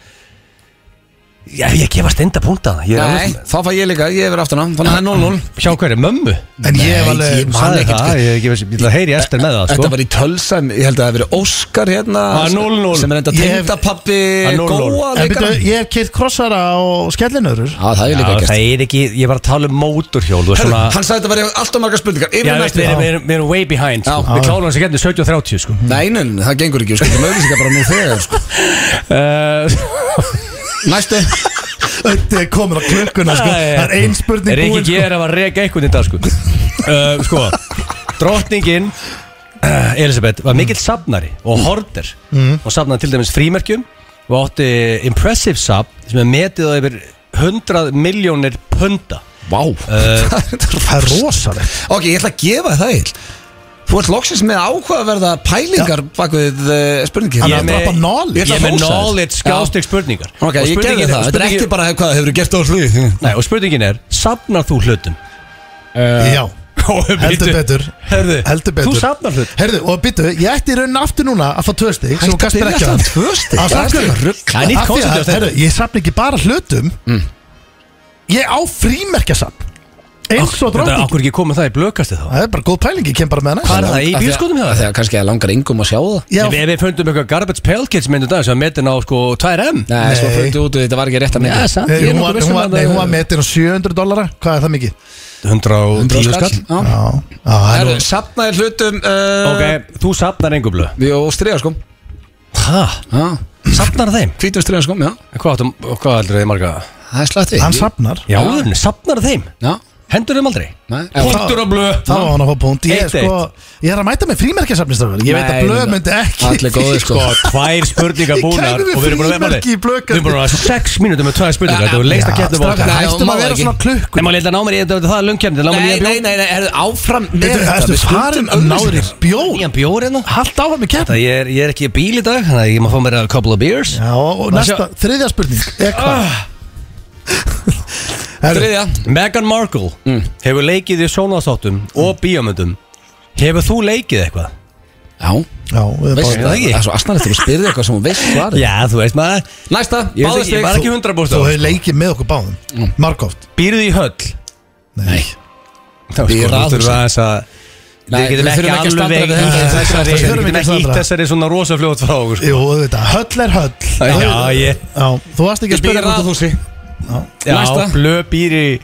Já, ég gefast enda punkt að það Ég er Nei, alveg- Ah, þá fæ ég líka, ég hef verið aftan á Þannig að það er 0-0 Hjá hverju? Mömmu? En ég hef Nei, alveg ég man Sæði ekkert það, hvað- ég, ég, ég, ég, ég heyri eftir með það sko Þetta var í tölsa, ég held að það hef verið Óskar hérna Ah, 0-0. Sem er enda Ég hef- tengdapappi Ah, 0-0. góa En líka byrju, ég hef keitt krossara og skellinöður Já, það hef ég Já, líka það gert er ekki, ég var að tala um mótorhjól Þú er Herru, svona Hann sagði þetta verið alltaf margar spurningar Já, Yfir í veist, næstu við erum- við erum- við erum way behind sko. Já. Við klárum þessi getni 17.30 sko Nei, nei, nei, það gengur ekki, sko, við skulum auðvitað bara nú þegar sko. Eh, Næstu Þetta er komin á klukkuna sko. Það er ein spurning Er ekki búin sko. gera að reka eitthvað í dag sko uh, Sko Drottningin uh, Elisabeth Mm. var mikill safnari og horder Og safnaði til dæmis frímerkjum Og átti impressive safn Sem er metið á yfir 100 miljónir punda Vá Það er rosalegt Ok, ég ætla að gefa það eil Þú ert loksins með áhugaverða pælingar bak við uh, spurningi Hann er að drapa Ég knowledge. Ég ætla er að með hrósa þér. knowledge skástik spurningar Ok, Og ég spurningin- gefði það Þetta er spurningin- ekki bara hvað hefur gert á slið Nei, og spurningin er Safnar þú hlutum? Já, heldur betur Herðu, Heldur betur Þú safnar hlut Herðu, og byrju, ég ætti í raunin aftur núna að fá tvö stig sem þú gast mér ekki á. tvösti Á, af hverju? Það er nýtt Mm. Af því koncept hjá að, Steindór. herru, Ég safna ekki bara hlutum Ég á frímerkjasafn Eins og Þetta er dróðning okkur ekki komið það í blökasti þá Það er bara góð pæling, ég kem bara með Hvað er hana það í bílskotum hjá það? Þegar kannski að langar yngum að sjá það Já, Ef, ef við fundum eitthvað Garbage Pail Kids myndu dag sem að metin á sko 2M Nei, Nei. svo fundu út og þetta var ekki rétt að Já, mynda samt, eh, ég er hún nokkuð var- vissum hún var- að nei, hún var metin á 700 dollara Hvað er það mikið? 110 skall skall Já, já, það er Herru, nú- safnaði hlutum uh, Ok, þú safnar engum blöð Jó, striðarskum Hæ? Safnar þeim? sko. Hvítum striðarskum, já Hvað áttum, hvað heldur þið marga? Það er slætti Hann safnar Já, alveg, safnar þeim? Já, Hendur þeim aldrei? nei Punktur á blöð Þá á hann að fá punkt Ég, er Eitt, sko, ég er að mæta með frímerkjasafnistafur Ég veit Nei, að blöð nei. myndi ekki Allir góðir, sko. Sko, tvær spurningar Ég búnar kæmi við og við erum búin að vera með frímerki í blöðkasti. Við erum búin að vera 6 mínútur með tvær spurningar Þetta var lengst að kettum strax- okkar Nei, Hættum má að vera ekki. svona klukku Nei, maður leita námar í þetta, það er lungkjæmdi Námar í Nei, að nei, bjóð nei, nei, herru, áfram með Þetta þetta, er við farin skuldum auglýsingar. að náður bjór Nýjan bjór hérna Halt áfram í keppni Það ég er, ég er ekki í bíl í dag Þannig að ég má fá mér að couple of beers Já, og næsta, þriðja spurning er hvað? Herru, Þriðja Meghan Markle hefur leikið í sjónvastáttum og bíómyndum Hefur þú leikið eitthvað? Já, Já, við erum veist báðir- það ekki? Það er svo astanlegt að þú spyrir eitthvað sem hún veist svarið Já, þú veist maður Næsta, Ég veist báðu ekki, stig ég var ekki Þú- 100 Þú hefur leikið með okkur báðum Markoft Býrðu í höll Nei, Þá Býr sko, að þú þurfum hugsa. aðeins að Nei, Við getum við ekki þurfum ekki að staldra við alveg þetta. Nei, þessari- Við þurfum Við getum ekki að ekki ítt staldra. þessari svona rosa fljótt frá okkur sko. Jú, þetta, höll er höll Já, ég Já, þú varst ekki að Ég spyrja spyrir að þú sí Já, Næsta. blöð býr í,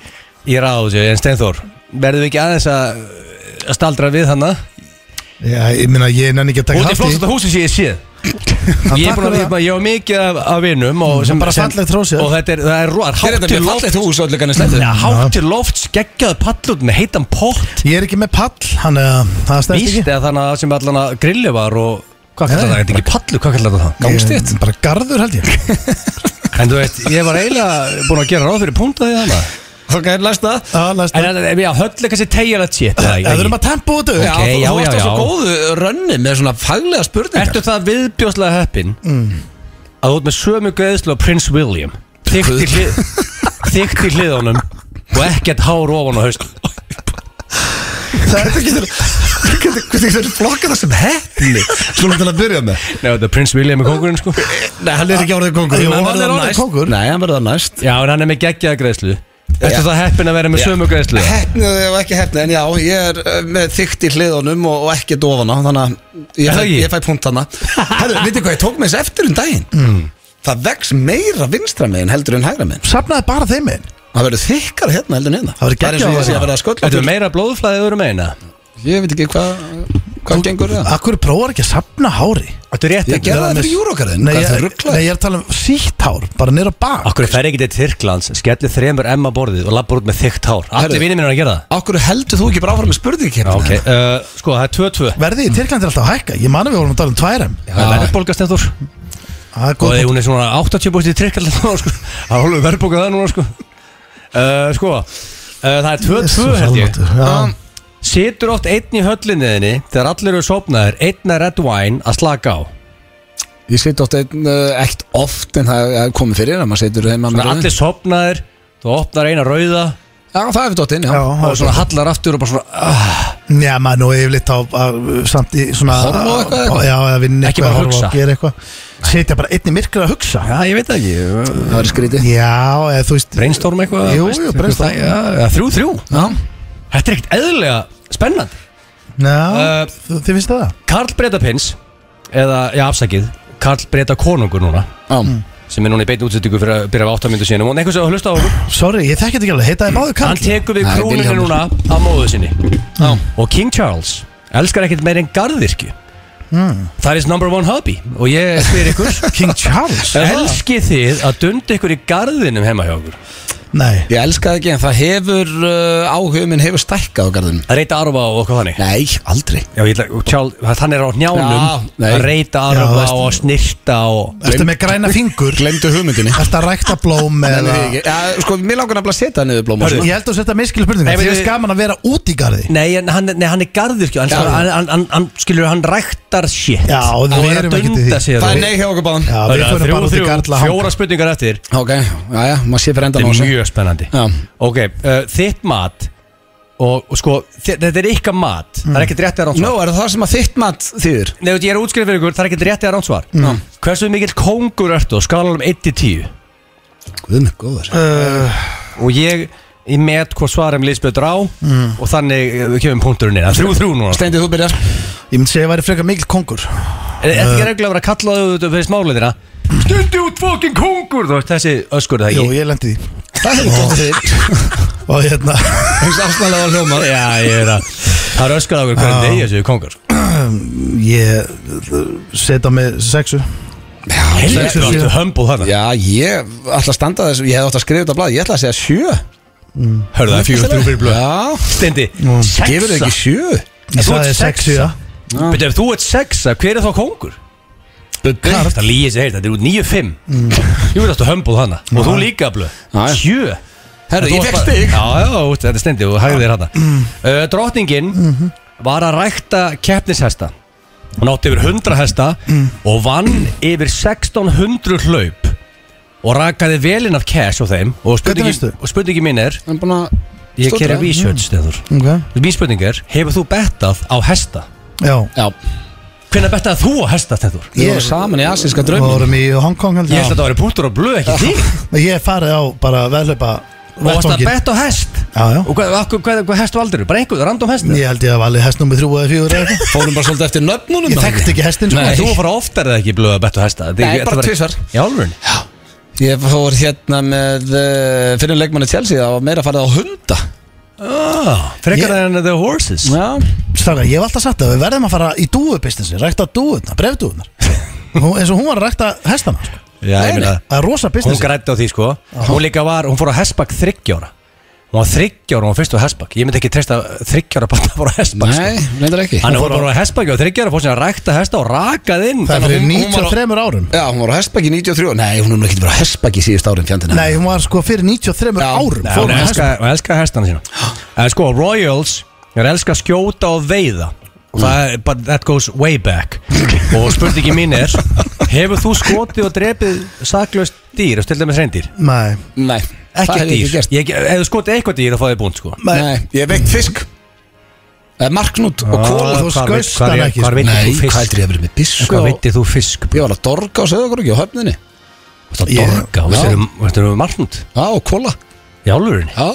í ráðsjö En Steinþór, verðum við ekki aðeins að að staldra við hana Já, ég meina, ég nenni ekki að taka Út í haft í flóttasta húsi sem ég séð Hann Ég er takkar búin að það. lípa, ég á mikið af, af vinum og, sem, bara sem, fallegt hrósið. og þetta er, það er, ro- Hér er hátt þetta til mjög loft fallegt hús öll ekki slett Já, hátt til loft, skeggjaðu pallut með heitan pott Ég er ekki með pall, hann er að það stæðst Víst ekki eða þannig að sem allan að grilli var og Hvað kallar Nei. það, þetta er ekki pallu, hvað kallar það það? gangstétt. Ég- Eh, Bara garður held ég En þú veit, ég var eiginlega búin að gera ráð fyrir punta því þannig Ok, næsta Já, læst En en- já, höll er kannski tegjulegt sétt eða Það verðum að tempa út Já, auðvitað Ok, þú- já, þú varst já, á svo já. góðu rönni með svona faglega spurningar Ertu það viðbjóðslega heppin að þú ert með sömu greiðslu á Prince William þykkt í, hlið, þykkt í hliðunum og ekkert hár ofan á haust Þetta getur Hvernig getur flokka það sem heppni Svona til að byrja með Nei, þetta er Prince William í kongurinn sko Nei, hann er ekki árið kongur Jú, Hann hann er verður orðinn næst. kóngur. Nei, hann verður það næst Já, en hann er með geggjaða greiðslu Ertu það heppin að vera með sömu greiðslu Hefnið og ekki hefnið, en já, ég er eh, með þygt í hliðunum og, og ekki dofana Þannig að Er ég það fæ, ekki? ég fæ punktana Herru, veitir hvað, ég tók með þess eftir um daginn Það vex meira vinstra megin heldur en hægra megin Safnaði bara þeim einn Það verður þykkar hérna heldur en hérna Það verður er eins og geggjað ég sé á að verða að skölla Þetta er okkur. meira blóðflæðið öðru meina Ég veit ekki hvað hvað gengur það Akkur prófar ekki að safna hári Þetta er rétt Ég gerði það með- fyrir júrókarðin Nei, Hvað er það ég, nei, rugglaði? ég er að tala um sítt hár Bara nýra bak Akkur fer ekki til Tyrklands, skellir þremur emma borðið og lappar út með þykkt hár Herðu. Allir vinir minn er að gera það Akkur heldur þú ekki bara áfram með hérna? spurningi Já, ok, uh, sko það er 2-2 Verði í Tyrklandi er alltaf að hækka Ég manna við vorum að tala um tværem Það er verðbólgast eftir Það er Og góð þegar hún er svona 80 búst í trikkaldan núna sko Það er hálfur verðbókað það núna sko uh, Sko uh, Það er 2-2 held ég Ah. Já, Um, Situr oft einn í höllinniðinni Þegar allir eru sopnaðir Einn er red wine að slaka á Ég seti oft einn, eh, ekkert oft en það er komið fyrir að maður setur heima Svona allir sopnaðir Þú opnar eina rauða Já, það er við dottinn, já. Já, það Og er svona hallar aftur og bara svona Já, maður nú yfirleitt á að, samt í svona Horfa á eitthvað, eitthvað? Já, að vinna Ekki eitthvað, bara horfa hugsa. á að gera eitthvað Setja bara einni myrkrið að hugsa Já, ég veit það ekki Það er skrítið Já, eða þú veist Brainstorm eitthvað Jú, veist, jú, eitthvað brainstorm. það- já, já, Þrjú, þrjú Já, Þetta er ekkert eðlilega spennandi Já, Uh, þið þið finnst það Karl Breta Pins Eða, já, afsakið Karl Breta Konungur núna já sem er núna í beinni útsettingu fyrir að byrja af 8 myndu síðan og einhvers að hlusta á okkur Sorry, ég þekki þetta ekki alveg, heita þið báðu Hann kall tekur við Nei, krúninu Vilhjálmur. núna af móðu sinni Og King Charles elskar ekkert meir en garðirkju Það er his number one hobby Hmm. Og ég spyr ykkur King Charles Elski þið að dunda ykkur í garðinum heima hjá okkur Nei, Ég elska það ekki en það hefur uh, áhugum minn hefur stækkað á garðinu Að reyta arfa og okkur þannig Nei, aldrei Já, ég ætla, og Charles, hann er á Já, njánum nei. Að reyta Já, arfa veist- og snirta og ertu með græna fingur Glemdu hugmyndinni Ertu að rækta blóm Nei, eða nei, ekki. Já, sko, mér langar nefnilega að setja niður sko. blóm og Ég svona. held að þetta miskil spurninga Nei, Þið veitu- finnst gaman að vera út í garði Nei, en hann, nei, hann er garðirkju hann, Já. hann, hann, hann, hann, skilur, hann ræktar shit Já, og Hann við er að erum ekki til dunda því. sér Það og- er nei hjá okkur báðan Já, Það við er fyrir bara út í þrjú, garðla þrjú, fjóra spurningar eftir Ok, já, já, maður sé fyrir endan á Þetta er þessu mjög spennandi Já. Ok, uh, þitt mat og, og sko, þi- þetta er ykkar mat Það Mm. er ekkert rétt eða Nú, ránsvar no. er það sem að þitt mat þýðir? Nei, veit, ég er útskrið fyrir ykkur, það er ekkert rétt eða ránsvar mm. Hversu mikill kóngur ertu og skalanum 1-10 Guð mig góður Og ég, ég met hvað svarum Lisbeth Rá Mm. Og þannig eh, við kemum punkturinn inn Það er 3-3 núna Steindi, þú byrjar Ég myndi segja að ég væri frekar mikil kongur Er er Eh. þetta ekki regla að vera að kalla þau út fyrir smáleðina Stundi út fokkin kóngur Þú veist þessi öskur er það Jú, ekki ég lendi því Það hefur gott þig Og hérna, Eins afsnalega að hljóma Já, ég er að Það er öskur að vera hvernig degi þessu kóngur ég setja mig sexu Helvist, þú ertu humble þarna Já, ég ætla að standa þessu Ég hef átt að skrifa þetta á blað Ég ætla að segja sjö Hörðu það er fjögur þrjú fyrir blöð Já, Steindi, gefur þau sexa ekki sjö Ég Þú sagði ert sexu, sexa. já Betur, ef þú ert sexa, hver er þá kongur? Bubbi Það lýði sér, þetta er út 9-5 Jú veit aftur hömbuð hana Og þú líka blöð Mm. Já, já. 7 Herru, ég fekk stig Mm. Já, já, út, þetta er stendi og hægði þér hana uh, Drottningin Mhm. var að rækta keppnishesta Hún átti yfir 100 hesta Mm. Og vann yfir 1600 hlaup Og rakaði velin af cash á þeim Og veistu? spurningi, og spurningi mín er Hann er búin að Ég Stúdra. kera research, steður Ok Mín spurning er, hefur þú bettað á hesta? Já, Já, Hvernig bettaði þú að hesta þetta úr? Við Ég- vorum saman í asíska Við draumum vorum í Hong Kong held Ég held að þetta væri punktur og blöð ekki þig að Ég hef farið á bara veðlaupa Og varst að vettvanginn. betta á hest Já, já. Og hvað, hvað, hvað, hvað hestu aldrei? Bara einhver, random hest Ég held ég að valið hest nummið þrjú eða fjögur eða eitthvað Fórum bara svolítið eftir nöfnunum Ég þekkti ekki hestinn, sko. Þú Nei, var oftar eða ekki í blöð að betta á hesta Þetta- Nei, þetta bara var- tvisvar. Í álfurinn? ég fór hérna með uh, Fyrir leikmanni Chelsea Það var meira farið á hunda Ah, Frekar en the horses Já Stráka, ég hef alltaf sagt það Við verðum að fara í dúubusinessi Rækta dúurnar, brefdúurnar Hún- Eins og hún var að rækta hestana sko. Já, ég meina Það er rosa Hún business grætti á því sko Hún líka var, hún fór á hestbakk þryggjóra Hún var þryggjóra, hún var fyrst á hestbakk Ég myndi ekki treysta þryggjóra bara að fór á hestbakk Nei, reyndar ekki Hann fór bara á hestbakki og þryggjóra fór sér að rækta hesta og rakað inn Það er Þannig að fyrir hún- hún var á- 93 árum Já, hún var á Hestbæki 93 Nei, hún er nú ekki bara á Hestbæki síðust árin fjandina Nei, hún var sko fyrir 93 Já. árum Nei, fór hún Hún að hesta. elskar elska hestana sína En sko, Royals er elska að skjóta og veiða Mm. Og það er, but that goes way back Og spurningi mín er Hefur þú skotið og drepið saklaust dýr, til dæmis reyndýr? Nei, Nei það Ekki hef ég dýr, ekki gert. ég, ef þú skotið eitthvað dýr þá fáið þið búnt sko Nei, ég hef veikt fisk Eh, Marknút Ah, og kóla þú skaust hann ekki, Hvað sko. veitir Nei, þú hvað Sko- fisk? heldur ég að vera með En bissu Hvað og- veitir þú fisk? Ég var að dorga á sögurkróki á höfninni Það Ég- dorga, Já. veitir þú margnund? Já, og kóla Í álurinni? Já,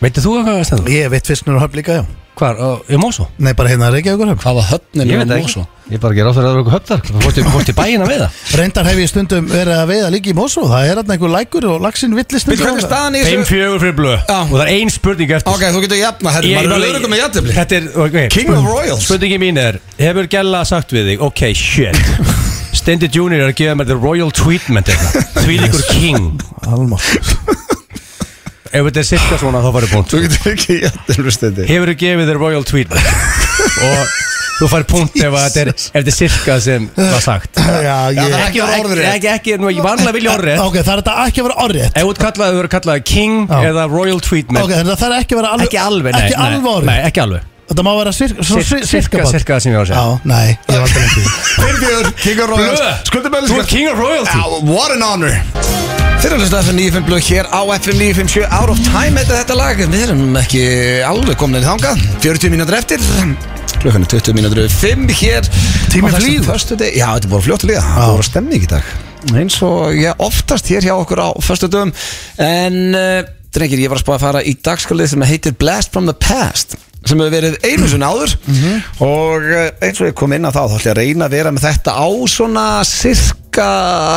Veitir þú hvað það stendur? ég veit fyrst núna höfn líka, já Hvað, í Mosó? Nei, bara hérna Reykjavíkur höfn hvað var höfninni Ég veit á það Mosó? ekki Ég bara ger áþví að það eru eitthvað höfðar Hvað fórst í- Fórst í bæina við það? Reyndar hef ég stundum verið að veiða líka í Mosó Það er hérna einhver lækur og laxinn villist Býttu, hvernig er staðan í þessu? fjögur fyrir blöð Já. Og það er ein spurning eftir Ok, þú getur jafna, herri, Ég- maður er ég- öruggum með jafntefli Þetta er, ok King of Royals. Spurningi mín er Hefur Gella sagt við þig Ok, shit Stendi Junior er að gefa mér the royal treatment Tvílikur king Almátt Ef þetta er sirka svona þá farið búnt Þú getur ekki jafnilvist þetta hefur þú gefið þér royal treatment og þú fær punkt ef að þetta er, ef þetta er cirka sem var sagt Já, það er ég ekki að vera orðrétt. ekki, ekki, nú ég vanlega vilja orðrétt Ok, það er þetta ekki að vera orðið ef þú ert kallaði, þú ert kallaði king Já. eða royal treatment Ok, þannig að það er ekki að vera alveg ekki alveg, nei, Ekki nei, alveg nei, orðið ekki alveg Þetta má vera sirka Sir- cirka, bát. cirka það sem ég var að Já, segja nei, ég var aldrei ekki Fyrbjörn, King of Royals Skuldum Blöð, þú ert king of royalty What an honor Þeir eru að hlusta á FM 95 blöð hér á FM 957 Out of Time heitir þetta lag Við erum ekki alveg komin í þanga 40 mínútur eftir Klukkan er 20 mínútur yfir 5 hér Á Tíminn þessum flýgur. föstudegi- Já, þetta er búin fljótt að líða Það voru stemming í dag Eins og ég oftast hér hjá okkur á föstudöfum En uh, drengir, ég var að spá að fara í dagskalið sem heitir Blast from the Past sem hefur verið einu sinni áður og eh, eins og ég kom inn á það þá ætla ég að reyna að vera með þetta á svona sirka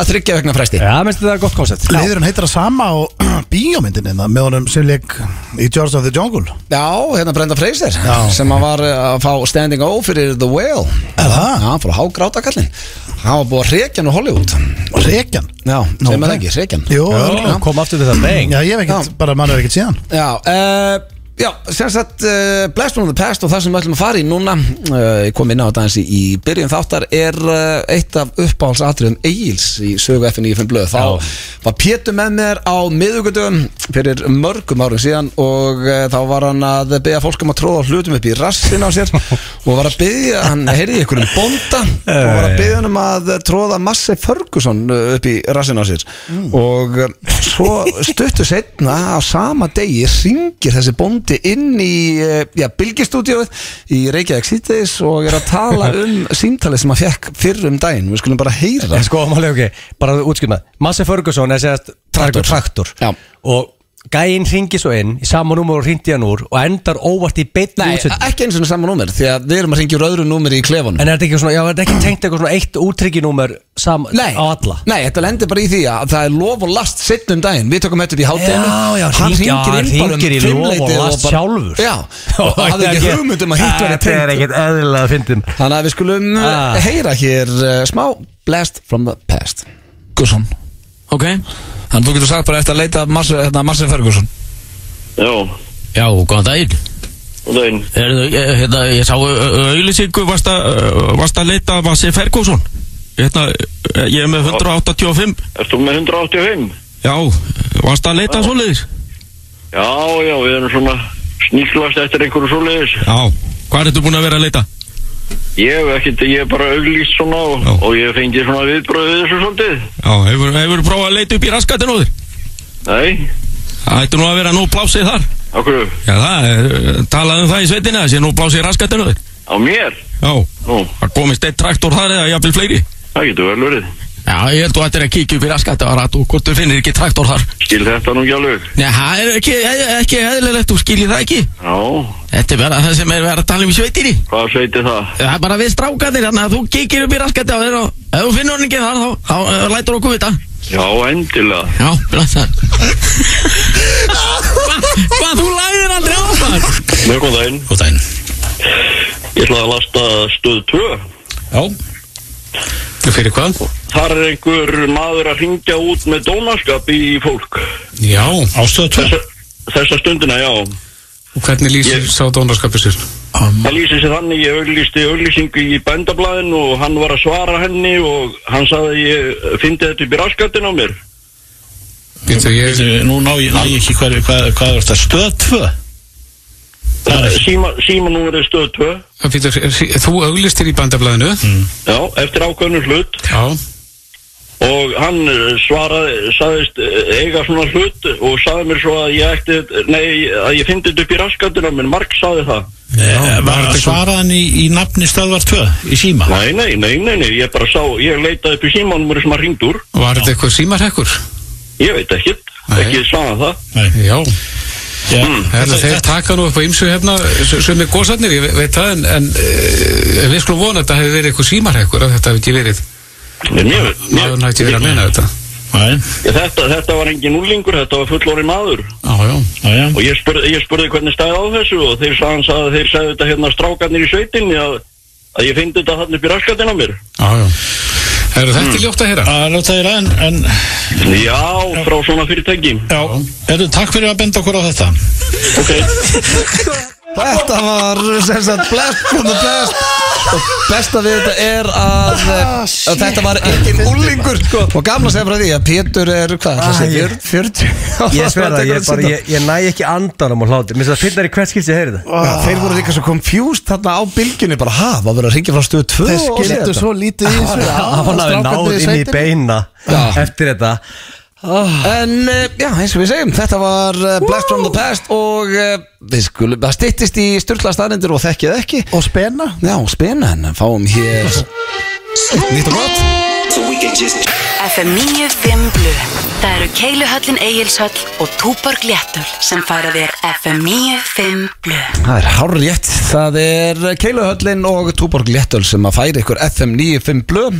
þryggja vegna fresti Já, minnst þetta er gott koncept Leðurinn heitir það sama á bíómyndinni það, Með honum sem leik í George of the Jungle Já, hérna Brenda Fraser Já. sem að var eh, að fá standing O fyrir The Whale Er Já, það? hann fór að hágráta kallinn Hann var búið að rekja hann á Hollywood Reykjan Já, Nú, sem er það ok. ekki, rekja hann Jú, Já, örugglega. kom aftur til það bang Já, ég hef ekkert, Já. bara mann er ekkert síðan Já, uh, já sem sagt uh, Blast from the Past og það sem við ætlum að fara í núna uh, ég kom inn á þetta eins í, í byrjun þáttar er uh, eitt af uppáhaldsatriðum Egils í sögu FN95 blöð þá Já. var Pétur með mér á miðugudum fyrir mörgum árum síðan og uh, þá var hann að beða fólk um að tróða hlutum upp í rassin á sér og var að beðja, hann heyrði ykkur um bonda og var að beðja hann um að tróða Massey Ferguson uh, upp í rassin á sér og uh, svo stuttu setna á sama degi ringir þessi bondi inn í uh, já, Bilgistúdíóið í Reykjavík síðdeis og er að tala um símtalið sem hann fekk fyrr um daginn við skulum bara heyra En sko, málega ok, bara útskipnað Massi Ferguson er segjast Traktor. traktor. Já. Og gæinn ringi svo inn Í sama númur og ringdi hann úr Og endar óvart í beinni Nei, útsett ekki eins og sama númer Því að við erum að ringja úr öðru númeri í klefanum En er þetta ekki svona, já, er þetta ekki tengt eitthvað svona eitt útrygginúmer sam, Nei, á alla? nei, þetta lendir bara í því að það er lof og last sitt um daginn Við tökum þetta upp í hátteginu Já, já, Hann hringi- já, ringir inn bara um hringir í fimmleytið Lof og Last sjálfur. Já, og Og hafði ekki þetta- hugmynd um að hitt verið Þetta er tengt ekkert eðlilega að fyndum Þannig að við skulum Ah. ah. heyra hér uh, smá Blast from the past Gusson Ok, þannig að þú getur sagt bara eftir að leita Marcel Marse Ferguson Já, hérna, Já, góðan daginn daginn. Heyrðu, ég, hérna, ég sá auðlýsingu varst, að- varst að leita að Vassi Ferguson hérna, eh, Ég er með 185 Ertu með 185? Já, varst að leita að svoleiðis Já, já, við erum svona sníklast eftir einhverju svoleiðis. Já, hvað ertu búin að vera að leita? Ég hef ekkert, ég hef bara auglýst svona og, Já. og ég hef fengið svona viðbröð við þessu svolítið. Já, hefur, hefur prófað að leita upp í raskatinn á þér Nei, Það ættu nú að vera nú plásið þar okkur, Já, það, eh, talað um það í sveitinni að sé nú plásið í raskatinn á þér á mér? Já, Nú, Það komist eitt traktor þar eða jafnvel fleiri það getur vel verið. Já, ég held þú ættir að kíkja upp í raskatt og ratu hvort þú finnir ekki traktor þar Skil þetta nú ekki alveg. Nei, það er ekki, eh, ekki eðlilegt, þú skiljið það ekki Já, Þetta er bara það sem er verið að tala um í sveitinni hvað sveiti það? Það er bara við strákanir, þannig að þú kíkir upp í raskatt og ef þú finnur hann ekki þar þá, þá, þá lætur okkur vita Já, endilega. Já, blessa Hvað, hva, þú læðir aldrei á það? Mjög góð daginn. Góð daginn Ég ætla að lasta stöð 2. Já Fyrir hvað? Þar er einhver maður að ringja út með dónaskap í fólk. Já, ástöðu tvö Þessa, þessa stundina, já. Og hvernig lýsir Ég- sá dónarskapið sér? Það lýsir sér þannig, ég auglýsti auglýsingu í bændablaðin og hann var að svara henni og hann sagði að ég fyndi þetta upp í raskattin á mér. Býttu, ég Bíddu, Nú ná ég, ná ég ekki hvað, hvað, hvað er þetta Stöð 2 Það er- Síma, síma nú er stöð 2, Pítur, þú auglistir í bandablaðinu já, eftir ákveðnum hlut Já og hann eh, svaraði, sagðist eh, eiga svona hlut og sagði mér svo að ég ætti, nei, að ég fyndi þetta upp í raskattin á mér, Mark sagði það. Eh, var var- þetta Svaraði hann í, í nafni Stöðvar 2 í síma Nei, nei, nei, nei, nei, ég bara sá, ég leitaði upp í símanúmeri sem hann ringd úr, Var þetta eitthvað símarhekkur? ég veit ekkert, Nei. ekki svaða það. Nei. Já Já. Mm. Herla, Þeir taka nú upp á hérna, ymsu hefna sem er góðsarnir, ég ve- veit það en, en eh, við skulum vona að þetta hefur verið eitthvað símarhekkur að þetta hefur ekki verið En Mér, mér, maðurinn hefur ekki verið að meina þetta Nei, þetta, þetta var engin úlingur, þetta var fullorinn maður. Já, já já, já. Og ég spurði, ég spurði hvernig stæði á þessu og þeir sagðan að þeir sagði þetta hérna strákarnir í sveitinni að, að ég fyndi þetta hann upp í raskatinn á mér. Já, já Herra, þetta er ljótt að heyra Mm. Það er lóta þér en, en Já, frá svona fyrirtæki. já, erðu takk fyrir að benda okkur á þetta Ok. Þetta var eh, sem sagt blast from the past og besta við þetta er að, eh, að Ah, þetta var engin úlingur sko. og gamla segja frá því að Pétur er hvað, það sé Ah, ég- 40 Ég sver það, ég, bara, ég, ég næ ekki andanum á hláti Mér finnst það finnar í hvert skipti að heyri það Ah. Já, þeir voru líka svo confused þarna á bylgjunni bara hafa að vera að ringja frá stöðu 2 Þeir skildu svo lítið í þessu Hann hafði náð Strákarnir inn í sveitinni. Ah. beina Eftir þetta En eh, já, eins og við segjum, þetta var eh, Blast from the Past og eh, við skulum, það styttist í styrkla staðnindur og þekkið ekki Og spenna Já, spena en fáum hér Nýtt og gott FM 95 Blu Það eru Keiluhöllin Egilshöll og Túborg Léttul sem færa þér FM 95 Blu Það er hár rétt, það er Keiluhöllin og Túborg Léttöl sem að færi ykkur FM 95 blöð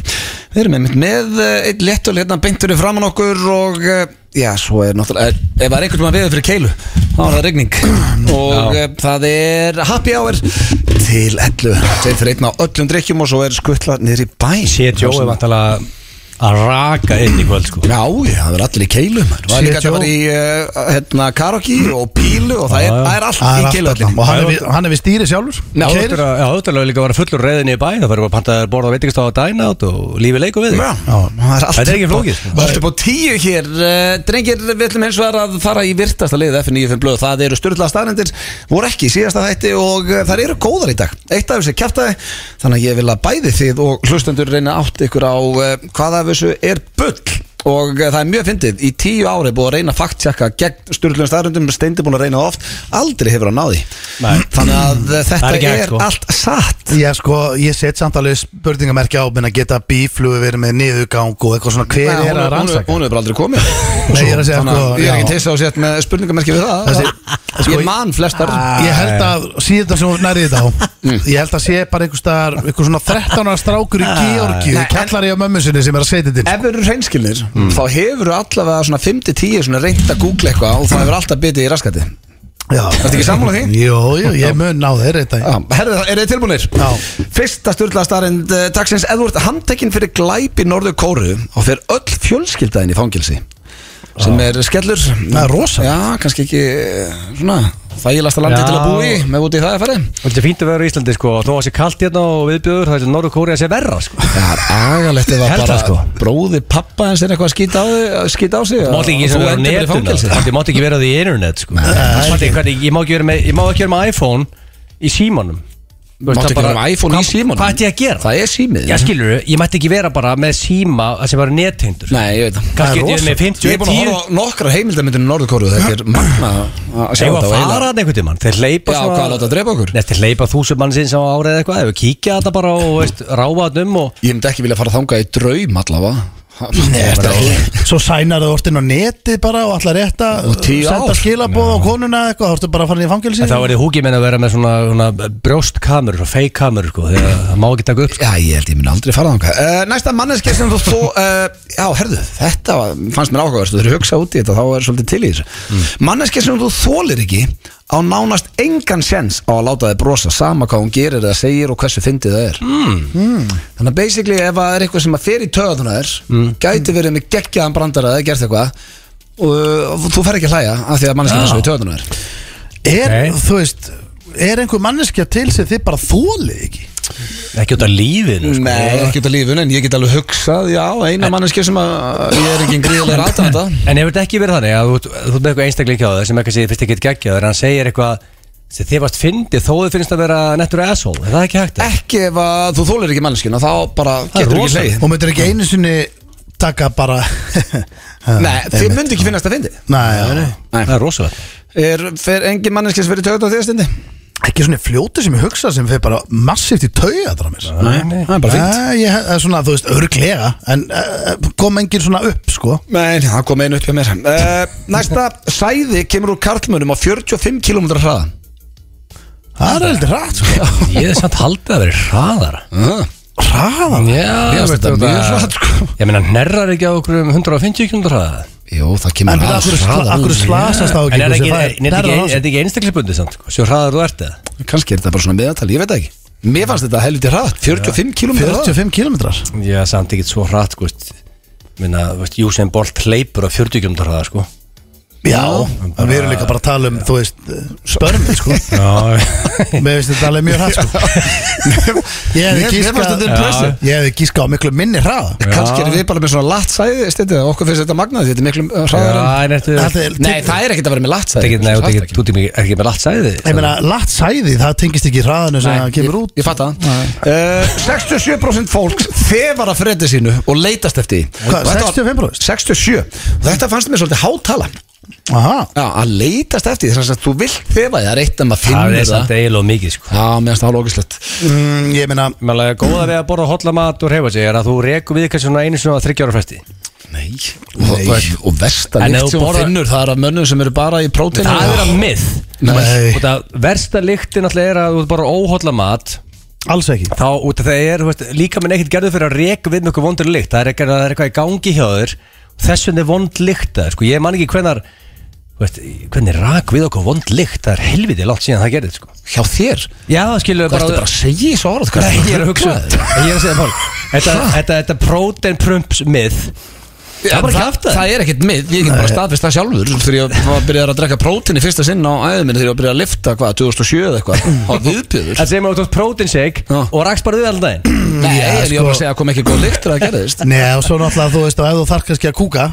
Við erum einmitt með eh, einn léttöl hérna beintur í framann okkur og eh, já, svo er náttúrulega, eh, ef það er einhvern veginn að veða fyrir Keilu þá er það regning og já. það er happy hour til 11 þeir fyrir einn á öllum drikkjum og svo er skuttla niður í bæ Sétjó er vantalega að raka inn í kvöld sko Já, já, það er allir í Keilu maður. Það er líka að það var í eh, hérna, Karoki og Pílu og það er, það er allt Það í er allt Keiluhöllinni þarna. Og hann er við- hann er við stýri sjálfur Já, Keyrir. þetta Áður að líka að vera fullur reyðin í bæ Það fyrir að panta þér borða veitingast á að dæna át og lífi leiku við þig Já, það er allt Þetta er ekki flókið, sko. Allt upp á tíu hér Eh, Drengir, við ætlum hins vegar að fara í virtasta liðið F95 blöð Það eru styrla staðnendir Voru ekki í síðasta þætti og eh, þær eru góðar í dag Eitt af þessu kjæftaði Þannig að ég vil að bæði þið og hlustendur reyna átt ykkur á eh, hvað af þessu er bull Og eh, það er mjög fyndið, í tíu ári er búið að reyna faktsjaka gegn styrlum staðröndum, steindi búin að reyna það oft, aldrei hefur hann náði. Nei. Þannig að eh, þetta Það er er, ekki hægt, sko. allt satt. Ég sko, ég set samt alveg spurningamerki á menn að geta bíflugu verið með niðurgang og eitthvað svona hver Nei, er hún að rannsaka Hún hún hefur bara aldrei komið Nei, ég er að segja Þannig sko, Ég er já. ekki tilst á sett með spurningamerki við það Þessi- sko, Ég ég- man flestar Ég held að síðan sem hún nærið þetta á Mm. Ég held að sé bara einhver staðar Einhver svona 13 ára strákur í Georgi Í Nei, en- kallari á mömmu sinni sem er að setja til Ef við eru hreinskilnir, Mm. þá hefur við allavega svona 5-10 svona reynt að googla eitthvað og það hefur alltaf bitið í raskati Já, Ertu ekki sammála því? Jú, jú, ég mun ná þeir þetta Já, herðu, er þið tilbúinir? Já. Fyrsta styrla starrend uh, dagsins Edward handtekinn fyrir glæpi norðu kóru og fyrir öll fjölskyldaðin í fangilsi sem er skellur Það er rosa. Já, kannski ekki eh, svona þægilegasta landi Já. til að búi með úti í það að fara Og þetta er fínt að vera í Íslandi sko Þó að sé kalt hérna og viðbjöður Það er til Norður Kóri að sé verra sko Það er agalegt ef að Held bara það, sko. bróði pappa hans er eitthvað að skýta á, þig- að skýta á sig Mátti ekki og sem þú vera á endur bara í netinu fangelsi. Þetta mátti ekki vera á því internet sko Mátti, hvernig, ég, má ekki vera með, ég má ekki vera með iPhone í símanum Máttu ekki hafa iPhone í símanum? Hvað ætti ég að gera? Það er símið Já, skilur ég mætti ekki vera bara með síma að sem var nettindur Nei, ég veit Kannski ég er með 50 Ég er búin að horfa á nokkra heimildamindinu Norðurkóru Þetta er magna að sjá þetta Þegar að og fara eiginlega- þarna einhvern tímann Þeir leipa Já, hvað, láta drepa okkur? Nei, þeir leipa þúsund mann sinns á árið eitthvað Ef við kíkja þetta bara og veist, ráfa þetta um og... Ég myndi ekki vilja fara þangað í draum allavega Nei, ertu- Svo sænar þú orðin á neti bara og allar rétta Og tíu ár. Senda skilabóð á konuna eitthvað Þá ertu bara farin í fangelsi En þá er þið húkið minn að vera með svona, svona brjóstkamur, svona fake kamur sko, þegar það má ekki taka upp sko. Já, ég held ég minn aldrei fara þangað uh, Næsta manneskja sem þú þú uh, Já, herðu, þetta var- fannst mér áhugaverst Þú þurfir að hugsa út í þetta, þá er svolítið til í þessu Manneskja sem þú þólir ekki á nánast engan sens á að láta þið brosa sama hvað hún gerir eða segir og hversu fyndið það er Mm. Þannig að basically ef það er eitthvað sem að fer í töðuna þér gæti verið með geggjaðan brandara eða gert eitthvað og uh, þú fer ekki að hlæja af því að manneskja Já. er svo í töðuna þér Er, þú veist Er einhver manneskja til sem þið bara þólið ekki? Ekki út af lífinu sko. Nei, ekki út af lífinu en ég get alveg hugsað Já, eina manneskja sem að ég er engin gríðlega rata þetta En hefur þetta ekki verið þannig að þú, þú ert með eitthvað einstakling hjá það sem eitthvað sé fyrst ekki geggja þegar hann segir eitthvað sem þið varst fyndið þó þið finnst að vera nettur asshole, er það ekki hægt? Ekki ef að þú þólir ekki manneskjuna þá bara er getur ekki rosalegt. hlegið Og myndir ekki einu sinni taka bara Nei, þið myndi ekki finnast að fyndi Nei, já, nei. Það er rosalega Er, fer engin manneskja sem verið töðuna þér stundi? Ekki svona fljóti sem ég hugsa sem fyrir bara massíft í tauga þar að mér Nei, nei. Það er bara fínt. Nei, ég, eh, svona, þú veist, örglega En eh, kom engin svona upp, sko Nei, það kom einu upp hjá mér uh, Næsta sæði kemur úr karlmönum á 45 km hraða Það er heldur rætt, sko Ég er samt haldið að vera hraðara uh. Hraðan? Já, Mér finnst þetta mjög hratt, sko Ég meina, nerrar ekki á okkur um 150 km hraða Jó, það En byrja, af hverju sla- af hverju slasast þá ekki En er einhver sem ekki- fær- er- er Hnerrar á þetta sig? ekki- er þetta ekki einstaklisbundið samt? sko, Svo hraðar þú ert eða? Kanski sko- er þetta bara svona meðatal, ég veit það ekki Mér fannst þetta helviti hratt, 45 km 45 km Já, samt ekki svo hratt, sko veist. Minna, veist, Usain Bolt hleypur á 40 km hraða, sko Já, en við erum líka bara að tala um, þú veist, eh, spörmið, sko Já, Mér finnst þetta alveg mjög hratt, sko Ég hefði Mér- mér fannst þetta gíska impressive. Ég hefði gíska á miklu minni hraða Kanski erum við bara með svona latt sæði stundi Okkur finnst þetta magnað, því þetta er miklu eh, hraðar Já, en ertu- Þetta er- Nei, það er ekkert að vera með latt Þetta sæði ekki, nei, þú ert ekki- þú ert ekki- er ekki með látt sæði Ég meina, latt sæði, það tengist ekki hraðinu sem það kemur út Ég fatt að uh, 67% fólks þefar að fredi sínu og leitast eftir því. Hvað, Og þetta var- 65%? 67 Þetta fannst mér svolítið hátala Aha, Já, að leitast eftir því, þess að þú vilt þefa því, það er eitt að maður Það finnur er samt það eiginlega mikið, sko Já, mér finnst það lókislegt mm, ég meina Málega, góða við að borða holla mat og reyfa sig er að þú rekum við kannski svona einu svona þryggja ára fresti Nei, og, og, og versta En ef lykt þú sem hún borðar- finnur, það er af mönnum sem eru bara í próteinu Það er að mið Nei, Og það versta lyktin alltaf er að þú ert bara óholla mat alls ekki þá út af það er þú veist, líka minn ekkert gerður fyrir að reka við með eitthvað vondur lykt það er eitthvað, það er eitthvað í gangi hjá þér þess vegna er vond lykt það, sko, ég man ekki hvenar veist, hvernig rak við okkur vond lykt það er helviti langt síðan það gerðið sko. Hjá þér, já, skilur við hvað ertu bara bara að segja í svo orð? Hvað Nei, ertu ég er að hugsa ruglaður? Ég er að segja fólk Þetta, þetta, þetta protein prumps mið Það er bara ekki aftur Það er ekkert mið, ég get bara staðfist það sjálfur Þegar ég var að byrja að drekka prótein í fyrsta sinn á æðum minni Þegar ég var að byrja að lifta, hvað, 2007 eða eitthvað Á viðbjöður Það segir maður út á protein shake Já. og rakst bara við alltaf einn Nei, en ég var bara að segja að kom ekki góð lykt þegar það gerðist Nei, og svo náttúrulega, þú veist, og ef þú þarf kannski að kúka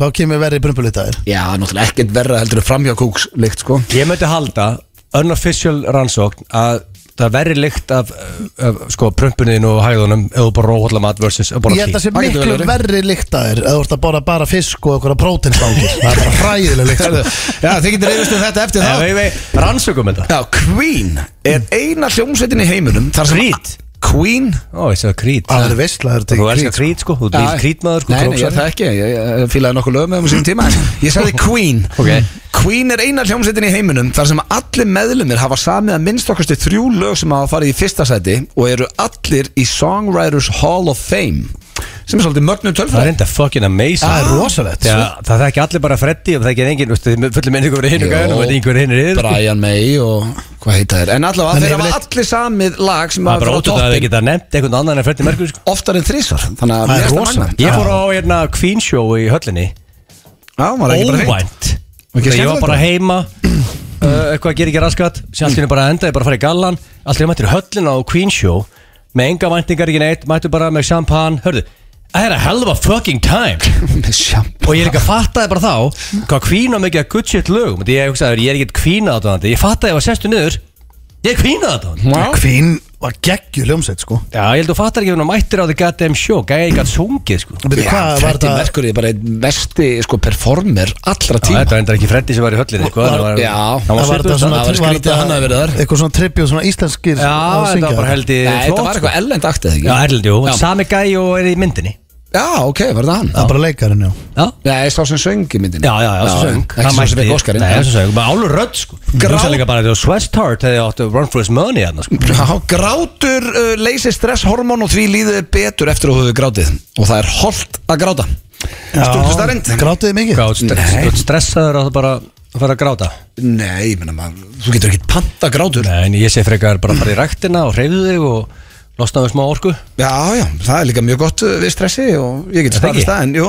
þá kemur verið brumbulitaðir Já, náttúrulega ekkert verra heldur framhjá kúkslykt, sko Ég myndi halda unofficial rannsókn að það verri lykt af, af sko, prumpuninu og hæðunum ef þú bara róhólla mat versus að Ég borða held að kýr það sé Það getur miklu vel verið. verri líktaðir eða þú ert að borða bara fisk og einhverja prótinslángir Það er bara hræðilega líkt sko. Já, þið getur reyðust um þetta eftir Nei, það vei, vei, rannsökum þetta Já, Queen er eina hljómsveitin í heiminum þar sem- Creed. Queen Ó, ég segja krít Það er veistla, það er Þú tekið elskar krít sko, þú býr krítmaður sko Nei, nei, ég, króksari. það ekki, ég, ég fílaði nokkuð lögum með um síðan tíma en Ég sagði Queen Ok. Queen er eina hljómsveitin í heiminum þar sem allir meðlumir hafa samið að minnst okkarstu þrjú lög sem hafa farið í fyrsta sæti og eru allir í Songwriters Hall of Fame sem er svolítið mögnu Það er tölfræð reynda fucking amazing Það er rosalegt, Já, Það þekki allir bara Freddy og það ekki engin, veistu, þið fullum inn ykkur hinn og gæðin og veit ykkur hinn er yfir sko. Brian May og hvað heita þér En allavega, En þeir hafa yfirleitt- allir samið lag sem Það er hafa bara farið á ótrúð að þið toppin geta nefnt einhvern annan en Freddy Mercury sko oftar en þrísvar Þannig að Það er mér finnst rosalegt. magnað. Ég fór á hérna Queen show í höllinni Já, maður er ekki bara fínt Oh óvænt Ok, Þegar ég var skemmtilegt bara bara. heima uh, eitthvað gerir ekki raskat sem allt í henni bara endaði bara að fara í gallan allt í henni mættir í höllina á Queen Show með enga væntingar ekki neitt mættu bara með champagne hörðu I had a hell of a fucking time Með sjamp og ég líka fattaði bara þá hvað Queen á mikið að good shit lögum Því ég hugsaði ég er ekkert Queen aðdóðandi ég fattaði að ég var sestu niður Ég kvínaði þetta Já. Queen var geggju ljómsveit sko Já, ég held að þú fattar ekki hvernig hún mættir á The Goddamn Show Gæði ekki að sungið sko Veitu, hvað var Freddie þetta- Mercury er bara einn mesti sko, performer allra tíma Þetta er endar ekki Freddy sem var í höllinni sko hann var- Já, hann var var svolítið þetta svona Það var skrítið að hann hafi verið þar Eitthvað svona trippjóð, svona íslenskir Já, að þetta syngja var bara held í- Nei, Þetta var eitthvað erlend aktið ekki sko. Já, Erlend, jú, Já. sami gæi og er í myndinni Já, ok, var þetta hann? Það er bara leikarinn, já Já, ég sá sem söng í myndinni Já, já, já, svo söng Ekki svo sem ekki Óskarinn Nei, svo söng, bara álur rödd sko Grá- Grá líka bara að þú Swest Heart hefði átt að Run For His Money hérna sko Já, grátur uh, leysir stresshormón og því líður þér betur eftir að þú hefur grátið og það er holdt að gráta Sturlu starrend Grátiði mikið? Grátt Nei. stress, stressaður að það bara að fara að gráta Nei, ég meina maður, þú getur ekkit panta grátur Nei, en ég sé frekar bara að fara í ræktina og hreyfðu þig og losnaðu smá orku Já, já, það er líka mjög gott uh, við stressi og ég get Er það sparið ekki? það en, jú,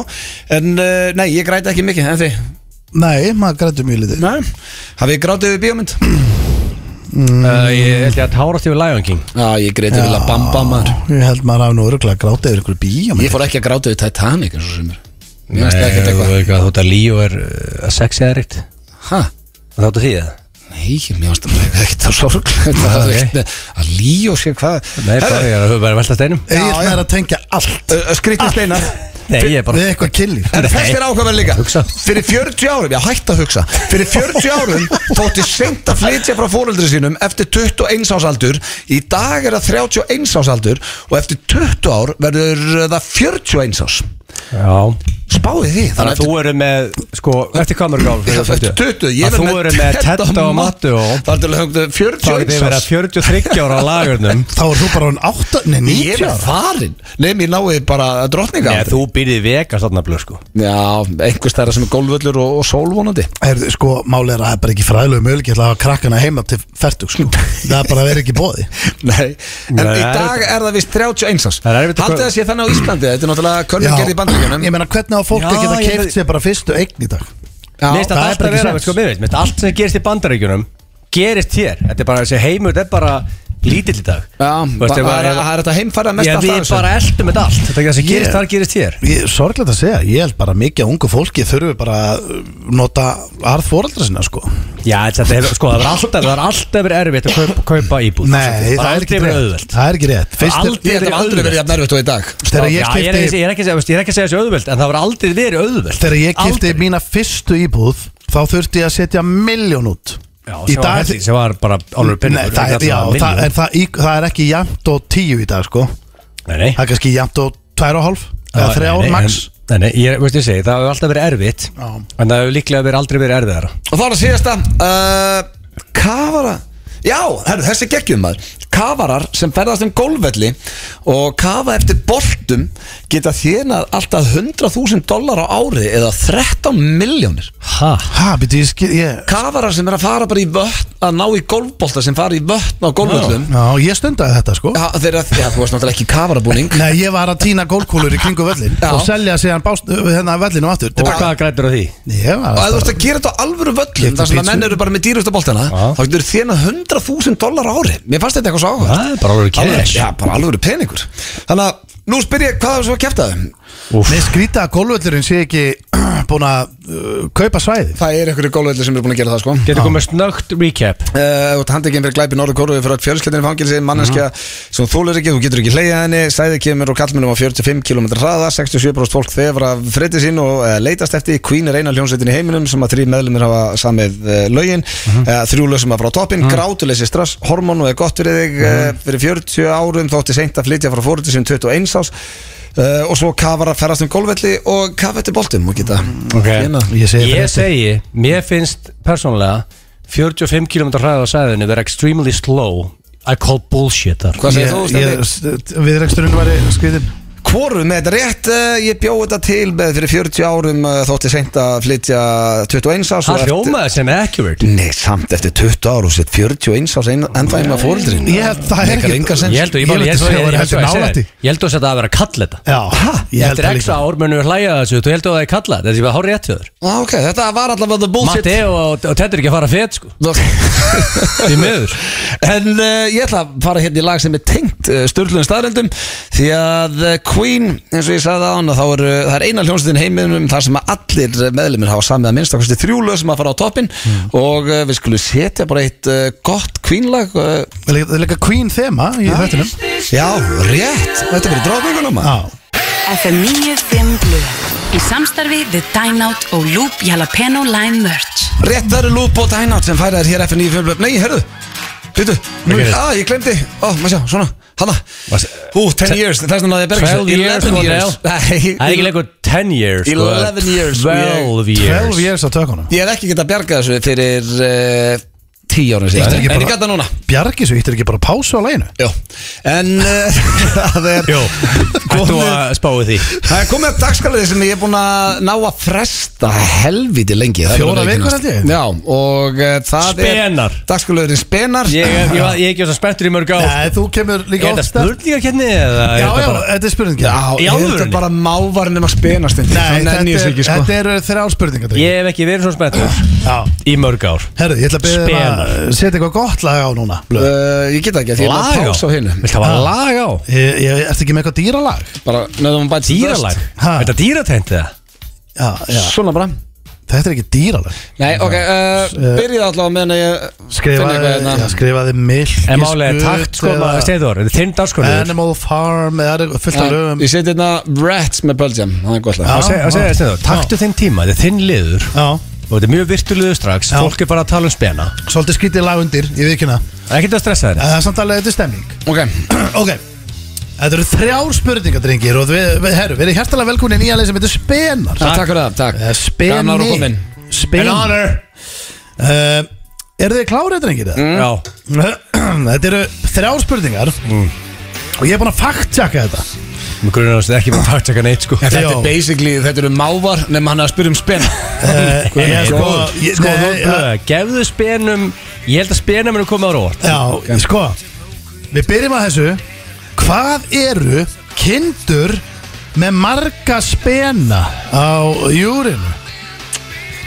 en uh, nei, ég græti ekki mikið en því, Nei, maður grætur mjög litið nei, hafið ég grátið við bíómynd? Mm. Uh, Ég held ég að tárast yfir Lion King Já, ég græti við að bamba maður Ég held maður hafi nú öruglega grátið yfir ykkur bíó Ég fór ekki að gráta við Titanic eins og sem er Mér finnst það Nei, ekkert þú eitthvað veit hvað, þú veit að Líó er uh, sexy eða reynt Hæ? Það áttu því það? Nei, mér finnst það ekkert það sorglegt Það er ok. ekkert með að líó sér hvað Nei, bara ég er að höfðu bara velta steinum Egil er að tengja allt Skrítið steinar Nei, ég er bara Við eitthvað killir En þess Ah. Nei. er ákveðan líka Hugsa. Fyrir 40 árum, já hætt að hugsa Fyrir 40 árum þótti seint að flytja frá fóreldri sínum eftir 21 ásaldur Í dag er það 31 ásaldur og eftir 20 ár verður það 41 ás Já Spáði því Þannig að eftir- þú eru með, sko, eftir hvað mörg ár? Já, fyrir eftir 20, ég Að verð þú eru með Tedda Tedda og Mattu og Það er til að hugsa Þá getur 41 þið verið að ás 43 ára á lagurnum Þá er þú bara hann 8, nei Ég 90 er ára farin Nefn ég náði bara drottninga Nei, þú byrðið vega svona blöð, sko Já, einhvers það er sem er golfvöllur og, og sólvonandi Herðu, sko, máli er að það er bara ekki fræðilegu möguleik að hafa krakkana heima til fertug, sko Það er bara að vera ekki bóði Nei, en Nei, í það er dag erfitt. er það vist 31 árs Það er erfitt að- Haldið það sé þannig á Íslandi, þetta er náttúrulega Já, könnum gerði í bandaríkjunum ég meina, hvernig á fólk Já, að geta ég keift veit- sér bara fyrstu eign í dag? Já, Mér finnst það er þetta alltaf bara ekki vera, sens. sko, mér veist, mér finnst allt sem gerist í bandaríkjunum Gerist hér, þetta er bara þessi heimur, þetta er bara lítill í dag Já, Þú veist, það ef það að- er það er þetta heimfæra mest Já, alltaf við þessu. bara eldum þetta allt Þetta er það sem gerist Ég- þar, gerist hér Ég er sorglega að segja, ég held bara mikið að ungu fólki þurfi bara að uh, nota arð fóreldra sinna, sko Já, þetta hefur, sko, það var alltaf, það var alltaf verið erfitt að kaupa, kaupa íbúð Nei, það er ekki verið rétt auðvelt Það er ekki rétt Fyrst er- Aldrei- Ég held að aldrei verið jafn erfitt og í dag Þegar ég Já, ég er ekki- kipti ég er ekki að segja- veist, ég er ekki að segja þessu auðvelt En það var aldrei verið auðvelt Þegar ég kipti Aldrei. mína fyrstu íbúð Þá þurfti ég að setja miljón út Já, Í sem var dag- helling- sem var bara álur Nei, pinningur það, er, já, það, er, það, í, það er ekki jæmt og tíu í dag sko Nei, nei Það er kannski jæmt og tvær og hálf Eða Já, þrjá nei, nei, max en- Nei, nei, ég veist ég segi, það hefur alltaf verið erfitt Já. En það hefur líklega verið aldrei verið erfiðara Og þá er það síðasta uh, Kafara Já, herru, þessi geggjum maður Kafarar sem ferðast um golfvelli og kafa eftir boltum geta þénað alltaf 100.000 dólar á ári eða 13 miljónir Ha? Ha, byrju, ég skil ég, Kafarar sem er að fara bara í vötn að ná í golfbolta sem fara í vötn á golfvöllum Já, ég stundaði þetta sko Já, þeirra, já, þú varst náttúrulega ekki kafarabúning Nei, ég var að týna gólkúlur í kringu völlin Já. Og selja síðan bást, hérna völlinu aftur Og tilbaka. hvað grætur á því? Ég var Og ef þú að ert að gera þetta á alvöru völlum Keyptu þar sem að pítsu. menn eru bara með dýrustu boltana Já. þá getur þérna 100.000 dólar ári Mér fannst þetta eitthvað svo áhuga Það er bara alveg cash Já, bara alvöru peningur Þannig að nú spyr ég hvað er svo að kæfta þau Mér skrýta að gólvöllurinn sé ekki búin að uh, kaupa svæðið Það er einhverju gólvelli sem eru búin að gera það sko Getur komið snögt recap Uh, Þú ert handekinn fyrir glæpi norður kóru fyrir að fjölskeldinu fangilsi, manneskja Mhm. sem þúlur ekki, þú getur ekki hleyja henni sæði kemur og kallmennum á 45 km hraða 67% fólk þefur af fritti sín og uh, leitast eftir, Queen er eina hljónsveitin í heiminum sem að þrý meðlumir hafa samið uh, lögin, Mhm. uh, þrjú lög sem að frá toppin, grátuleysi stress, hormon og er gott fyrir þig Mhm. uh, fyrir 40 árum þótti seint að flytja frá fóröldi sem 21 ás uh, og svo kafar að ferðast um golfvelli og kafa eftir boltum Hérna. og geta Þénað. Ég segi Ég þetta. segi, mér finnst persónulega 45 km hraði á sæðinu vera extremely slow I call bullshit þar Hvað segir þú, Ég- ég- st- Viðreksturinn var skriðin Hvorum með þetta rétt, eh, ég bjóð þetta til með fyrir 40 árum eh, þótti seint að flytja 21 árs og Það eftir- hljómaði sem accurate Nei, samt eftir 20 ára og sett 41 árs ein- enda heima fóreldrin Ég held það er Mekar ekki- engan sens Ég held Ég að ég bara- myndi ég held segja að- ég að held þetta er að ég nálægt í. segi það. Ég held að þetta að vera kalleta Já, ég held Eftir það x líka ár munum við hlæja að þessu Þú heldur að það er kalleta, þetta er bara hár rétt hjá þér ah, okay, Þetta var allavega the bullshit Matti og, og Ted er ekki að fara fett sko Í miður eh, En uh, ég ætla að fara hérna í lag sem er tengt uh, störlun staðrendum því að uh, Queen eins og ég sagði það án þá er, það er eina hljómsveitin í heiminum þar sem að allir meðlumir hafa samið að minnst okkur þrjú lög sem að fara á toppin Hmm. og uh, við skulum setja bara eitt uh, gott Queen-lag uh, Það er líka Queen þema í þettinum Já, rétt, þetta er bara dráðgönguna Já FM 95 Blu Í samstarfi við Dine Out og Loop Jalapeno Lime Merch Rétt það eru lúðbót hænát sem færa þér hér FN 95 Nei, herðu, byrju Nú, gerist? að, ég glemdi, ó, maður sjá, svona Hanna, ú, 10 years Það er svona að ég berg 12 years, sko, Nei. Það er ekki lengur 10 years sko. 11 years, sko, ég- 12 years years á tökunum Ég er ekki getað að bjarga þessu fyrir uh, 10 árum Þetta síðan er ekki En bara- ég gæta núna Bjargi svo, íttir ekki bara pásu á læginu Jó En uh, það er Jó, Ættu að spáu því Það er komið upp dagskalari sem ég er búinn að ná að fresta helviti lengi Það er Fjórar alveg vikur, ekki held ég. næst. Já, og uh, það Spenar. er Dagskalariðin spenar Ég ég- ég var- ég er ekki þess að spenntur í mörg á Nei, þú kemur Er líka þetta oft sterk. spurningar kenni eða er Já, þetta já, bara- þetta er spurning Já, Í ég held alvörunni? að bara mávarinn um að spena stundi Nei, Þannig þetta enn ég er- sig ekki sko þetta eru þrjá spurningar Ég hef ekki verið svona spenntur Já Í mörg ár Herðu, ég ætla að beða þér að Spenar. setja eitthvað gott lag á núna uh, Ég get það ekki að því ég er Lag á? að pása á hinu Viltu hafa Já. lag á? Ég, ég ert ekki með eitthvað dýralag Bara nöðum að bæta sem Dýralag? best. Ha? Er þetta dýratengt eða? Já, já Svona bara Þetta er ekki dýralag Nei, ok, uh, byrjið allavega meðan ég finn Skrifaði, eitthvað hérna. já, skrifaði milk En málega takt sko maður Steindor, þetta er þinn dagskonur Animal Farm, eða er fullt af Já, lögum Ég seti hérna Rats með Belgium Það er gott lag Já. Að segja Steindor, taktu þinn tíma, þetta er þinn liður Já, Og þetta er mjög virtulegur strax, Já. fólk er bara að tala um spena svolítið skrítið lag undir, ég veit ekki hana Ekkert að stressa En þeirra það er samt alveg, þetta er stemning Ok, Ok, þetta eru þrjár spurningar, drengir Og við, við herru, við erum hjertalega velkomin í nýja leið sem heitir Spenar takk fyrir það, takk Eða Speni Gaman að vera komin. Speni uh, Eru þið klárið, drengir? Mm. Já, þetta eru þrjár spurningar Og ég er búinn að faktjaka þetta mér grunar þess að ekki bara takt ekki neitt sko Þetta Já. er basically, þetta eru mávar Nefn hann er að spyrja um spenna Eh, ég- sko, ég- Sko, nei, þú- blöð, gefðu spenum Ég held að spenum eru komið á rót Já, sko Við byrjum að þessu Hvað eru kindur með marga spena á júrinu?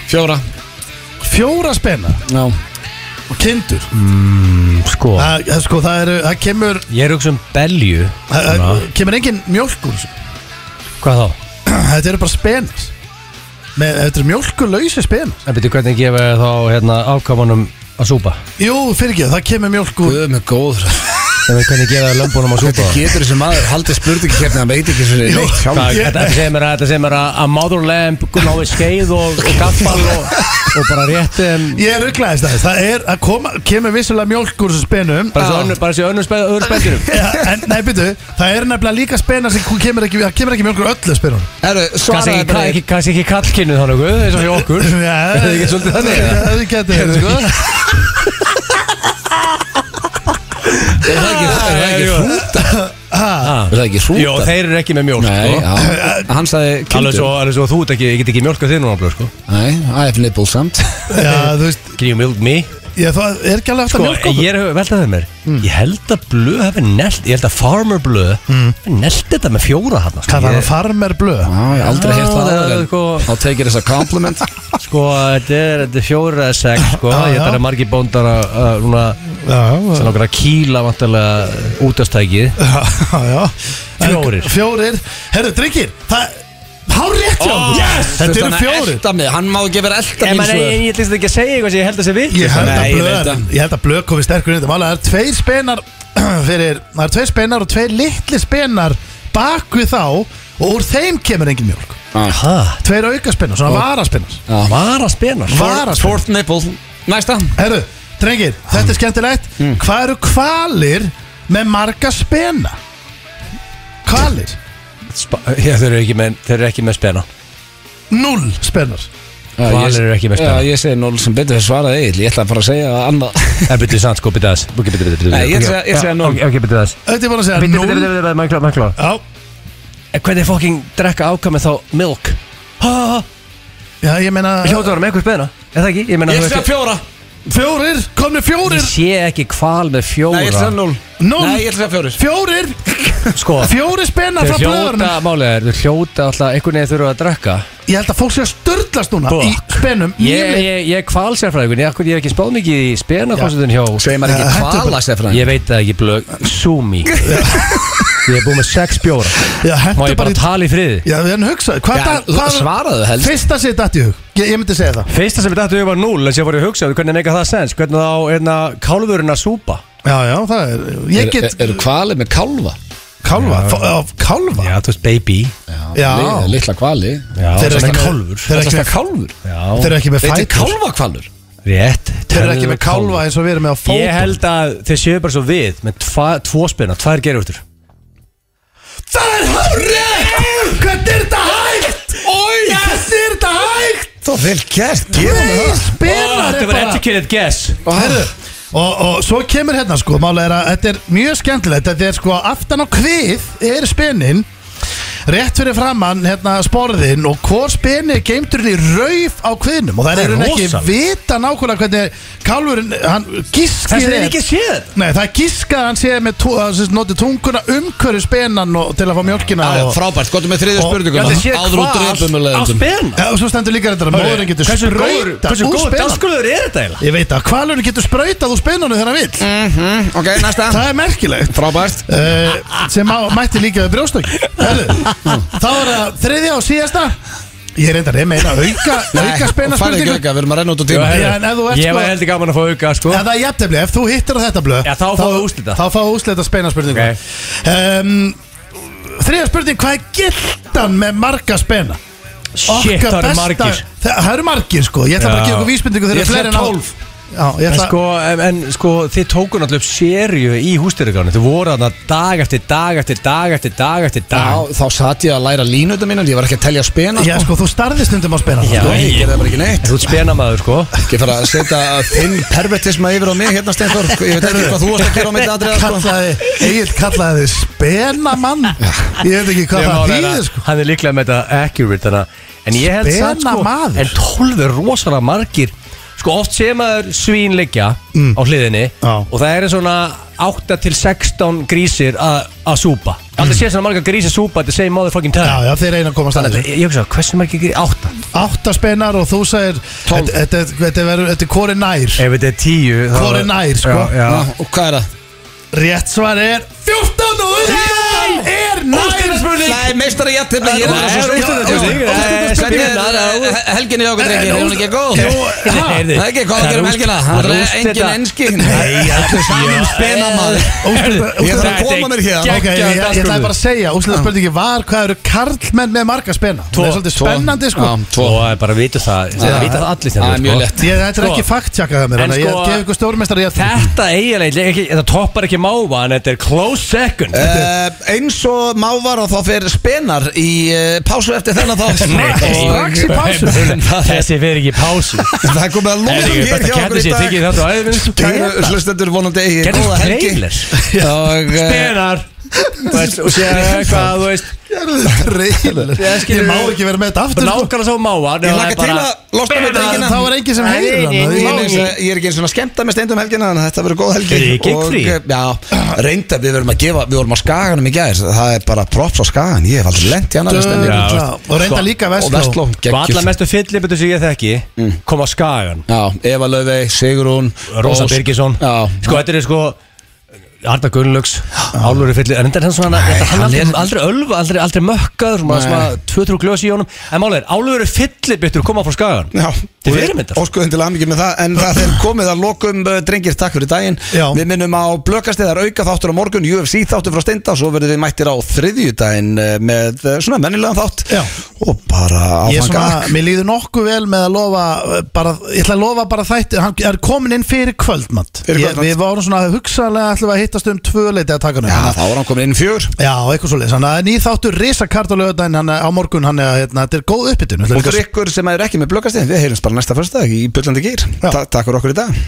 Fjóra Fjóra spena Já og kindur Sko, Þa, það- sko, það, eru, það kemur ég er hugsa um belju það, það svona. kemur engin mjólk úr þessu Hvað þá? Þetta eru bara spenis með, Þetta eru mjólkulausi spenis Það betur hvernig gefa þér þá hérna afkamanum að súpa Jú, fyrir ekki, það kemur mjólk úr Guð með góður Það betur hvernig gefa þér lömbunum að súpa Þetta getur þessi maður Haldið spurningi hérna, hann veit ekki sem er neitt sjálf Hvað- ég- Þetta þetta segir mér að þetta segir mér að að mother lamb náði skeið og, og gaffal og, og bara rétt um, Ég rugglaðist aðeins, það er að koma, kemur vissulega mjólk úr þessu spenum bara þessi önnu- bara þessi önnum spenn, öðru spennturum Ja, en, nei, byrju, það er nefnilega líka spena sem kemur ekki, það kemur ekki mjólkur öllu spenunum Herru, Kannski svaraði ekki, bara ekki, kannski ekki kallkynnu þá nokkuð eins og fyrir okkur Já, Er það ekki svolítið þannig, eða? Það er getur Herru, sko Er það ekki, er það ekki hrúta? Er það ekki hrúta? Jó, þeir eru ekki með mjólk Nei, sko. já, hann sagði Alveg kindur svo, alveg svo þú ert ekki, ég get ekki mjólka þig núna blöð, sko. Nei, I have nipple samt Já, þú veist, Can you milk me? ég, það er ekki alveg eftir Sko, að mjólk okkur ég er að velta það mér Ég held að blöð hefði nelt Ég held að farmer blöð hefði nelt þetta með fjóra hann sko. Hvað það Ég- er farmer blöð? Já, ég hef aldrei Já, heilt það það er áður, en sko- Þá tekir þess að compliment Sko, þetta er, þetta er fjóra eða sex sko. Já, Ég já. þarf að margi bóndar að að núna Já, sem okkar að kýla vantarlega útastækið já, já Fjórir. Fjórir Herru, drengir, það Hár rétt hjá oh, yes! Þetta eru fjórir Elta mig, hann má ekki vera elta En mín maður, ég, svo ég lýst ekki að segja eitthvað sem ég held að sé vitt Ég held Nei, að ég blöð veit það. Ég held að blöð komi sterkur inn í Mála, það er tveir spenar Fyrir, það er tveir spenar og tveir litli spenar Bak við þá Og úr þeim kemur engin mjólk Ah. Hæ? Tveir aukaspinnar, svona varaspennar Vara spenar Vara spenar Fourth nipple Næsta Herru, drengir, þetta er skemmtilegt Mm. Hvað eru kvalir með marga spena? Kvalir? Þeir eru ekki með, þeir eru ekki með spena Null spenar Já, Valir ég- eru ekki með spena. Já, ég segi nól sem betur fyrir svaraði Egil Ég ætla bara að segja að annað En byrjuðu sann, sko, byrjuðu þess Byrjuðu, byrjuðu, byrjuðu Nei, ég seg- ég segi núll. Ok, byrjuðu þess Þetta er bara að segja Byrjuðu, null byrjuðu, byrjuðu, maður kláð, maður kláð Já, Hvernig fokking drekka ákamið þá milk? Ha, ha, ha já, ég meina Hljóta var með eitthvað spena Er það ekki? Ég meina, Ég þú ætla veist, fjóra Fjórir, komni Ég fjórir sé ekki kval með fjóra Nei, ég ætla að segja nól Null Nei, ég ætla að segja fjórir Fjórir, Sko fjórir spenar Þeir frá hljóta, blöðurnum málið er, þeir hljóta alltaf einhvern veginn þurfa að drekka Ég held að fólk sé að störtlast núna Í spenum Sko, Ég, ég, ég er kvalsérfræðingun, ég, akkur- ég er ekki spáð mikið í spenakonsundin hjá Segir maður ekki kvalasérfræðingur? Ég veit það ekki blög, sumi Ég er búin með sex bjóra Já, Má ég bara bara í- tala í friði? Já, við hann hugsaði Já, svaraðu helst. Fyrsta sér datt í hug Ég, ég myndi segja það Fyrsta sem við dættu ég var núl, en sér fór ég að hugsa um Hvernig meika það sens, hvernig þá einna, kálfurinn að súpa Já, já, það er Ég get er, Eru kvalið með kálfa? Kálfa? F- á, Kálfa? Já, þú veist baby Já. li- Litla kvali Þeir eru ekki með- Þeir þeir eru eru ekki með- kálfur Þeir eru ekki með Þetta er fætur. kálfakvalur Rétt Þeir eru ekki með kálfa eins og við erum með á fótum Ég held að þeir séu bara svo við Með tva, tvo spenna, tvær gerurtur Það er hárið Hvernig er þetta hægt? Hvernig er þetta hægt? Það er vel gert, gefum við það. spilar Þetta var educated guess Og herru Og, og svo kemur hérna sko, málega er að þetta er mjög skemmtilegt, þetta er sko aftan á hvið er spennin rétt fyrir framann hérna sporðin og hvor spenni er geimturinn í rauf á hviðnum og það Það er er hún ekki rosalegt. vita nákvæmlega hvernig kálfurinn, hann gískið Þess vegna er ekki séð þetta. Nei, það er gískað að hann sé með, tú, að, sem sagt, noti tunguna umhverju spennan og, til að fá mjölkina Já, já, og, frábært, gott með þriðja Og- spurninguna Já, Hérna, þið séð Áður úr um hvað? dreipum um Á spenna? Já, og svo stendur líka þetta að móðurinn getur Hversu góður, sprautað hversu úr góður spennan. dagskurður er þetta eiginlega? Ég veit að hvalurinn getur sprautað úr spennunum þegar hann vill Mm. -hmm, Mhm, Ok, næsta Það er merkilegt Frábært uh, Sem á, mætti líka við brjóstökk Þá er það þriðja og síðasta Ég er reyndar, ég meina auka, auka spenna Færið ekki spurningu auka, við erum að renna út á tíma Já, en ef þú ert Ég sko- var heldur gaman að fá auka sko Já, það er jafntefni, ef þú hittir á þetta blöð Já, þá fáum við úrslita. Þá fáum við úslita spenna spurningu Ok. um, Þriðja spurning, hvað er gildan með marga spenna? Shit, Okkar það eru besta- margir. Það það eru margir sko, ég ætla bara að Já. gefa ykkur vísbendingu þegar Ég ætla fleiri en á- 12. Já, ég En ætla sko, en, en sko, þið tóku náttúrulega upp sériu í hústyrugránu Þið voru þarna dag eftir dag eftir dag eftir dag eftir dag Þá satt ég að læra línuðu mínu Ég var ekki að telja spena Já, sko, þú starði stundum á sko. spenna Já, Nei, ég gerði það bara ekki neitt En Þú ert spenamaður sko Ekki fara að setja þinn pervertisma yfir á mig hérna Steinþór Ég veit ekki hvað þú varst að gera á mitt aðriða sko. kallaði, Egil kallaði þið spenamann Ég veit ekki hvað Ég það má vera- þýðir sko Hann er líklega með þetta accurate þannig að- En ég held samt sko Spenamaður. En tólf er rosalega margir Sko oft sé maður svín liggja á hliðinni Mm. Já. Og það eru svona 8 til 16 grísir að að súpa Alltaf sé svona marga grísir súpa Þetta segir maður fucking Mm. Já, tæð já, þeir reyna að komast að Ég ég hugsa, hversu margir grísir? 8 þessu Átta spennar og þú segir Þetta þetta- þetta verður, þetta er hvori nær Ef þetta er 10 þá- Hvor er nær, sko? Já, já. Já, Og hvað er það? Rétt svar er 14 og 14 er nær Nei, meistara jættið Ég er Nei, það úrslitaspurning. eh, svo eh, Helgin í okkur, drengi, er hún ekki góð? Heyrðu, Það er ekki góð að það er gera um úrslit- helgina það Það er er engin úrslita- enski Nei, allir Saman spena maður Ég þarf að Þetta er koma mér hér Ok, ég, ég, ég ætlaði dagskrúðu. bara að segja, úslega spurningi var hvað eru karlmenn með marga spenna Það er svolítið spennandi sko Tvo Og það er bara að vita það Það vita það allir Það er mjög lett Ég, þetta er Sko. ekki faktjakað mér, En þannig að ég sko- gef ykkur stórmestari jætt Þetta eiginlega, ekki- þetta toppar ekki máva En þetta er close second Eh, Uh, eins og má var og þá fer spenar í uh, pásu eftir þennan þá Nei. strax í pásu það er- Þessi fyrir ekki í pásu það er komið að Þetta lóðum er hér þetta hjá okkur kætti í sér Þykir dag þetta á æðinu kæru slustendur vonandi eigi Gerðu góða helgi trailers. og uh, Spenar Þú veist, Og sé hvað, þú veist Ég má ekki vera með þetta aftur sko. Nákvæmlega svo máva ég laka til að losna með drengina Þá er enginn sem heyrir hann, Ég það er er eins og- ég er ekki eins og að skemmta með steindum helgina en þetta verður góð helgi Er þið í gigfrí? eh, já, reynda við verum að gefa við vorum á skaganum í gæðis það er bara props á skagan ég hef aldrei lent í annar Döðla. stemningu Og reynda líka sko, og Vestló vestló Og geggjur. alla mestu fyllibutu sem ég þekki Mm. Kom á skagan Já, Eva Laufey, Sigrún Rósa Ósk. Birgisson Já, Sko, þetta er sko Arda Gunnlaugs, Álur í fyllir En þetta er hann svona, þetta- hann hann er er- aldrei, aldrei ölva, aldrei, aldrei mökkaður Svona, Nei. svona, tvö, trú glösi í honum En málið er, Álur í fyllir byttur koma frá skagan Já, Til fyrirmyndar. Óskuðum til aðmyggjum með það En það er komið að lokum uh, drengir Takk fyrir daginn Já. Við minnum á blökasteðar auka þáttur á morgun UFC þáttur frá steinda Svo verðum við mættir á þriðju daginn uh, Með uh, svona mennilegan þátt Já. Og bara Ég áfanga svona, mér líður nokkuð vel með að lofa eh, bara, ég ætla að lofa bara þætti hann er komin inn fyrir kvöldmatt Fyrir kvöldmat. Við vorum svona hugsaðlega ætlum við að hittast um tvö leiti að taka hann Já, þá er hann komin inn í fjör Já, eitthvað svo leiðis, hann er nýþáttur risakart á lögudaginn, hann er á morgun, hann er, hérna, þetta er góð uppbytun Og fyrir ykkur sem er ekki með blökasteðin Við heyrums bara næsta fyrsta í Bullandi Gýr Já. Ta Takk fyrir okkur í dag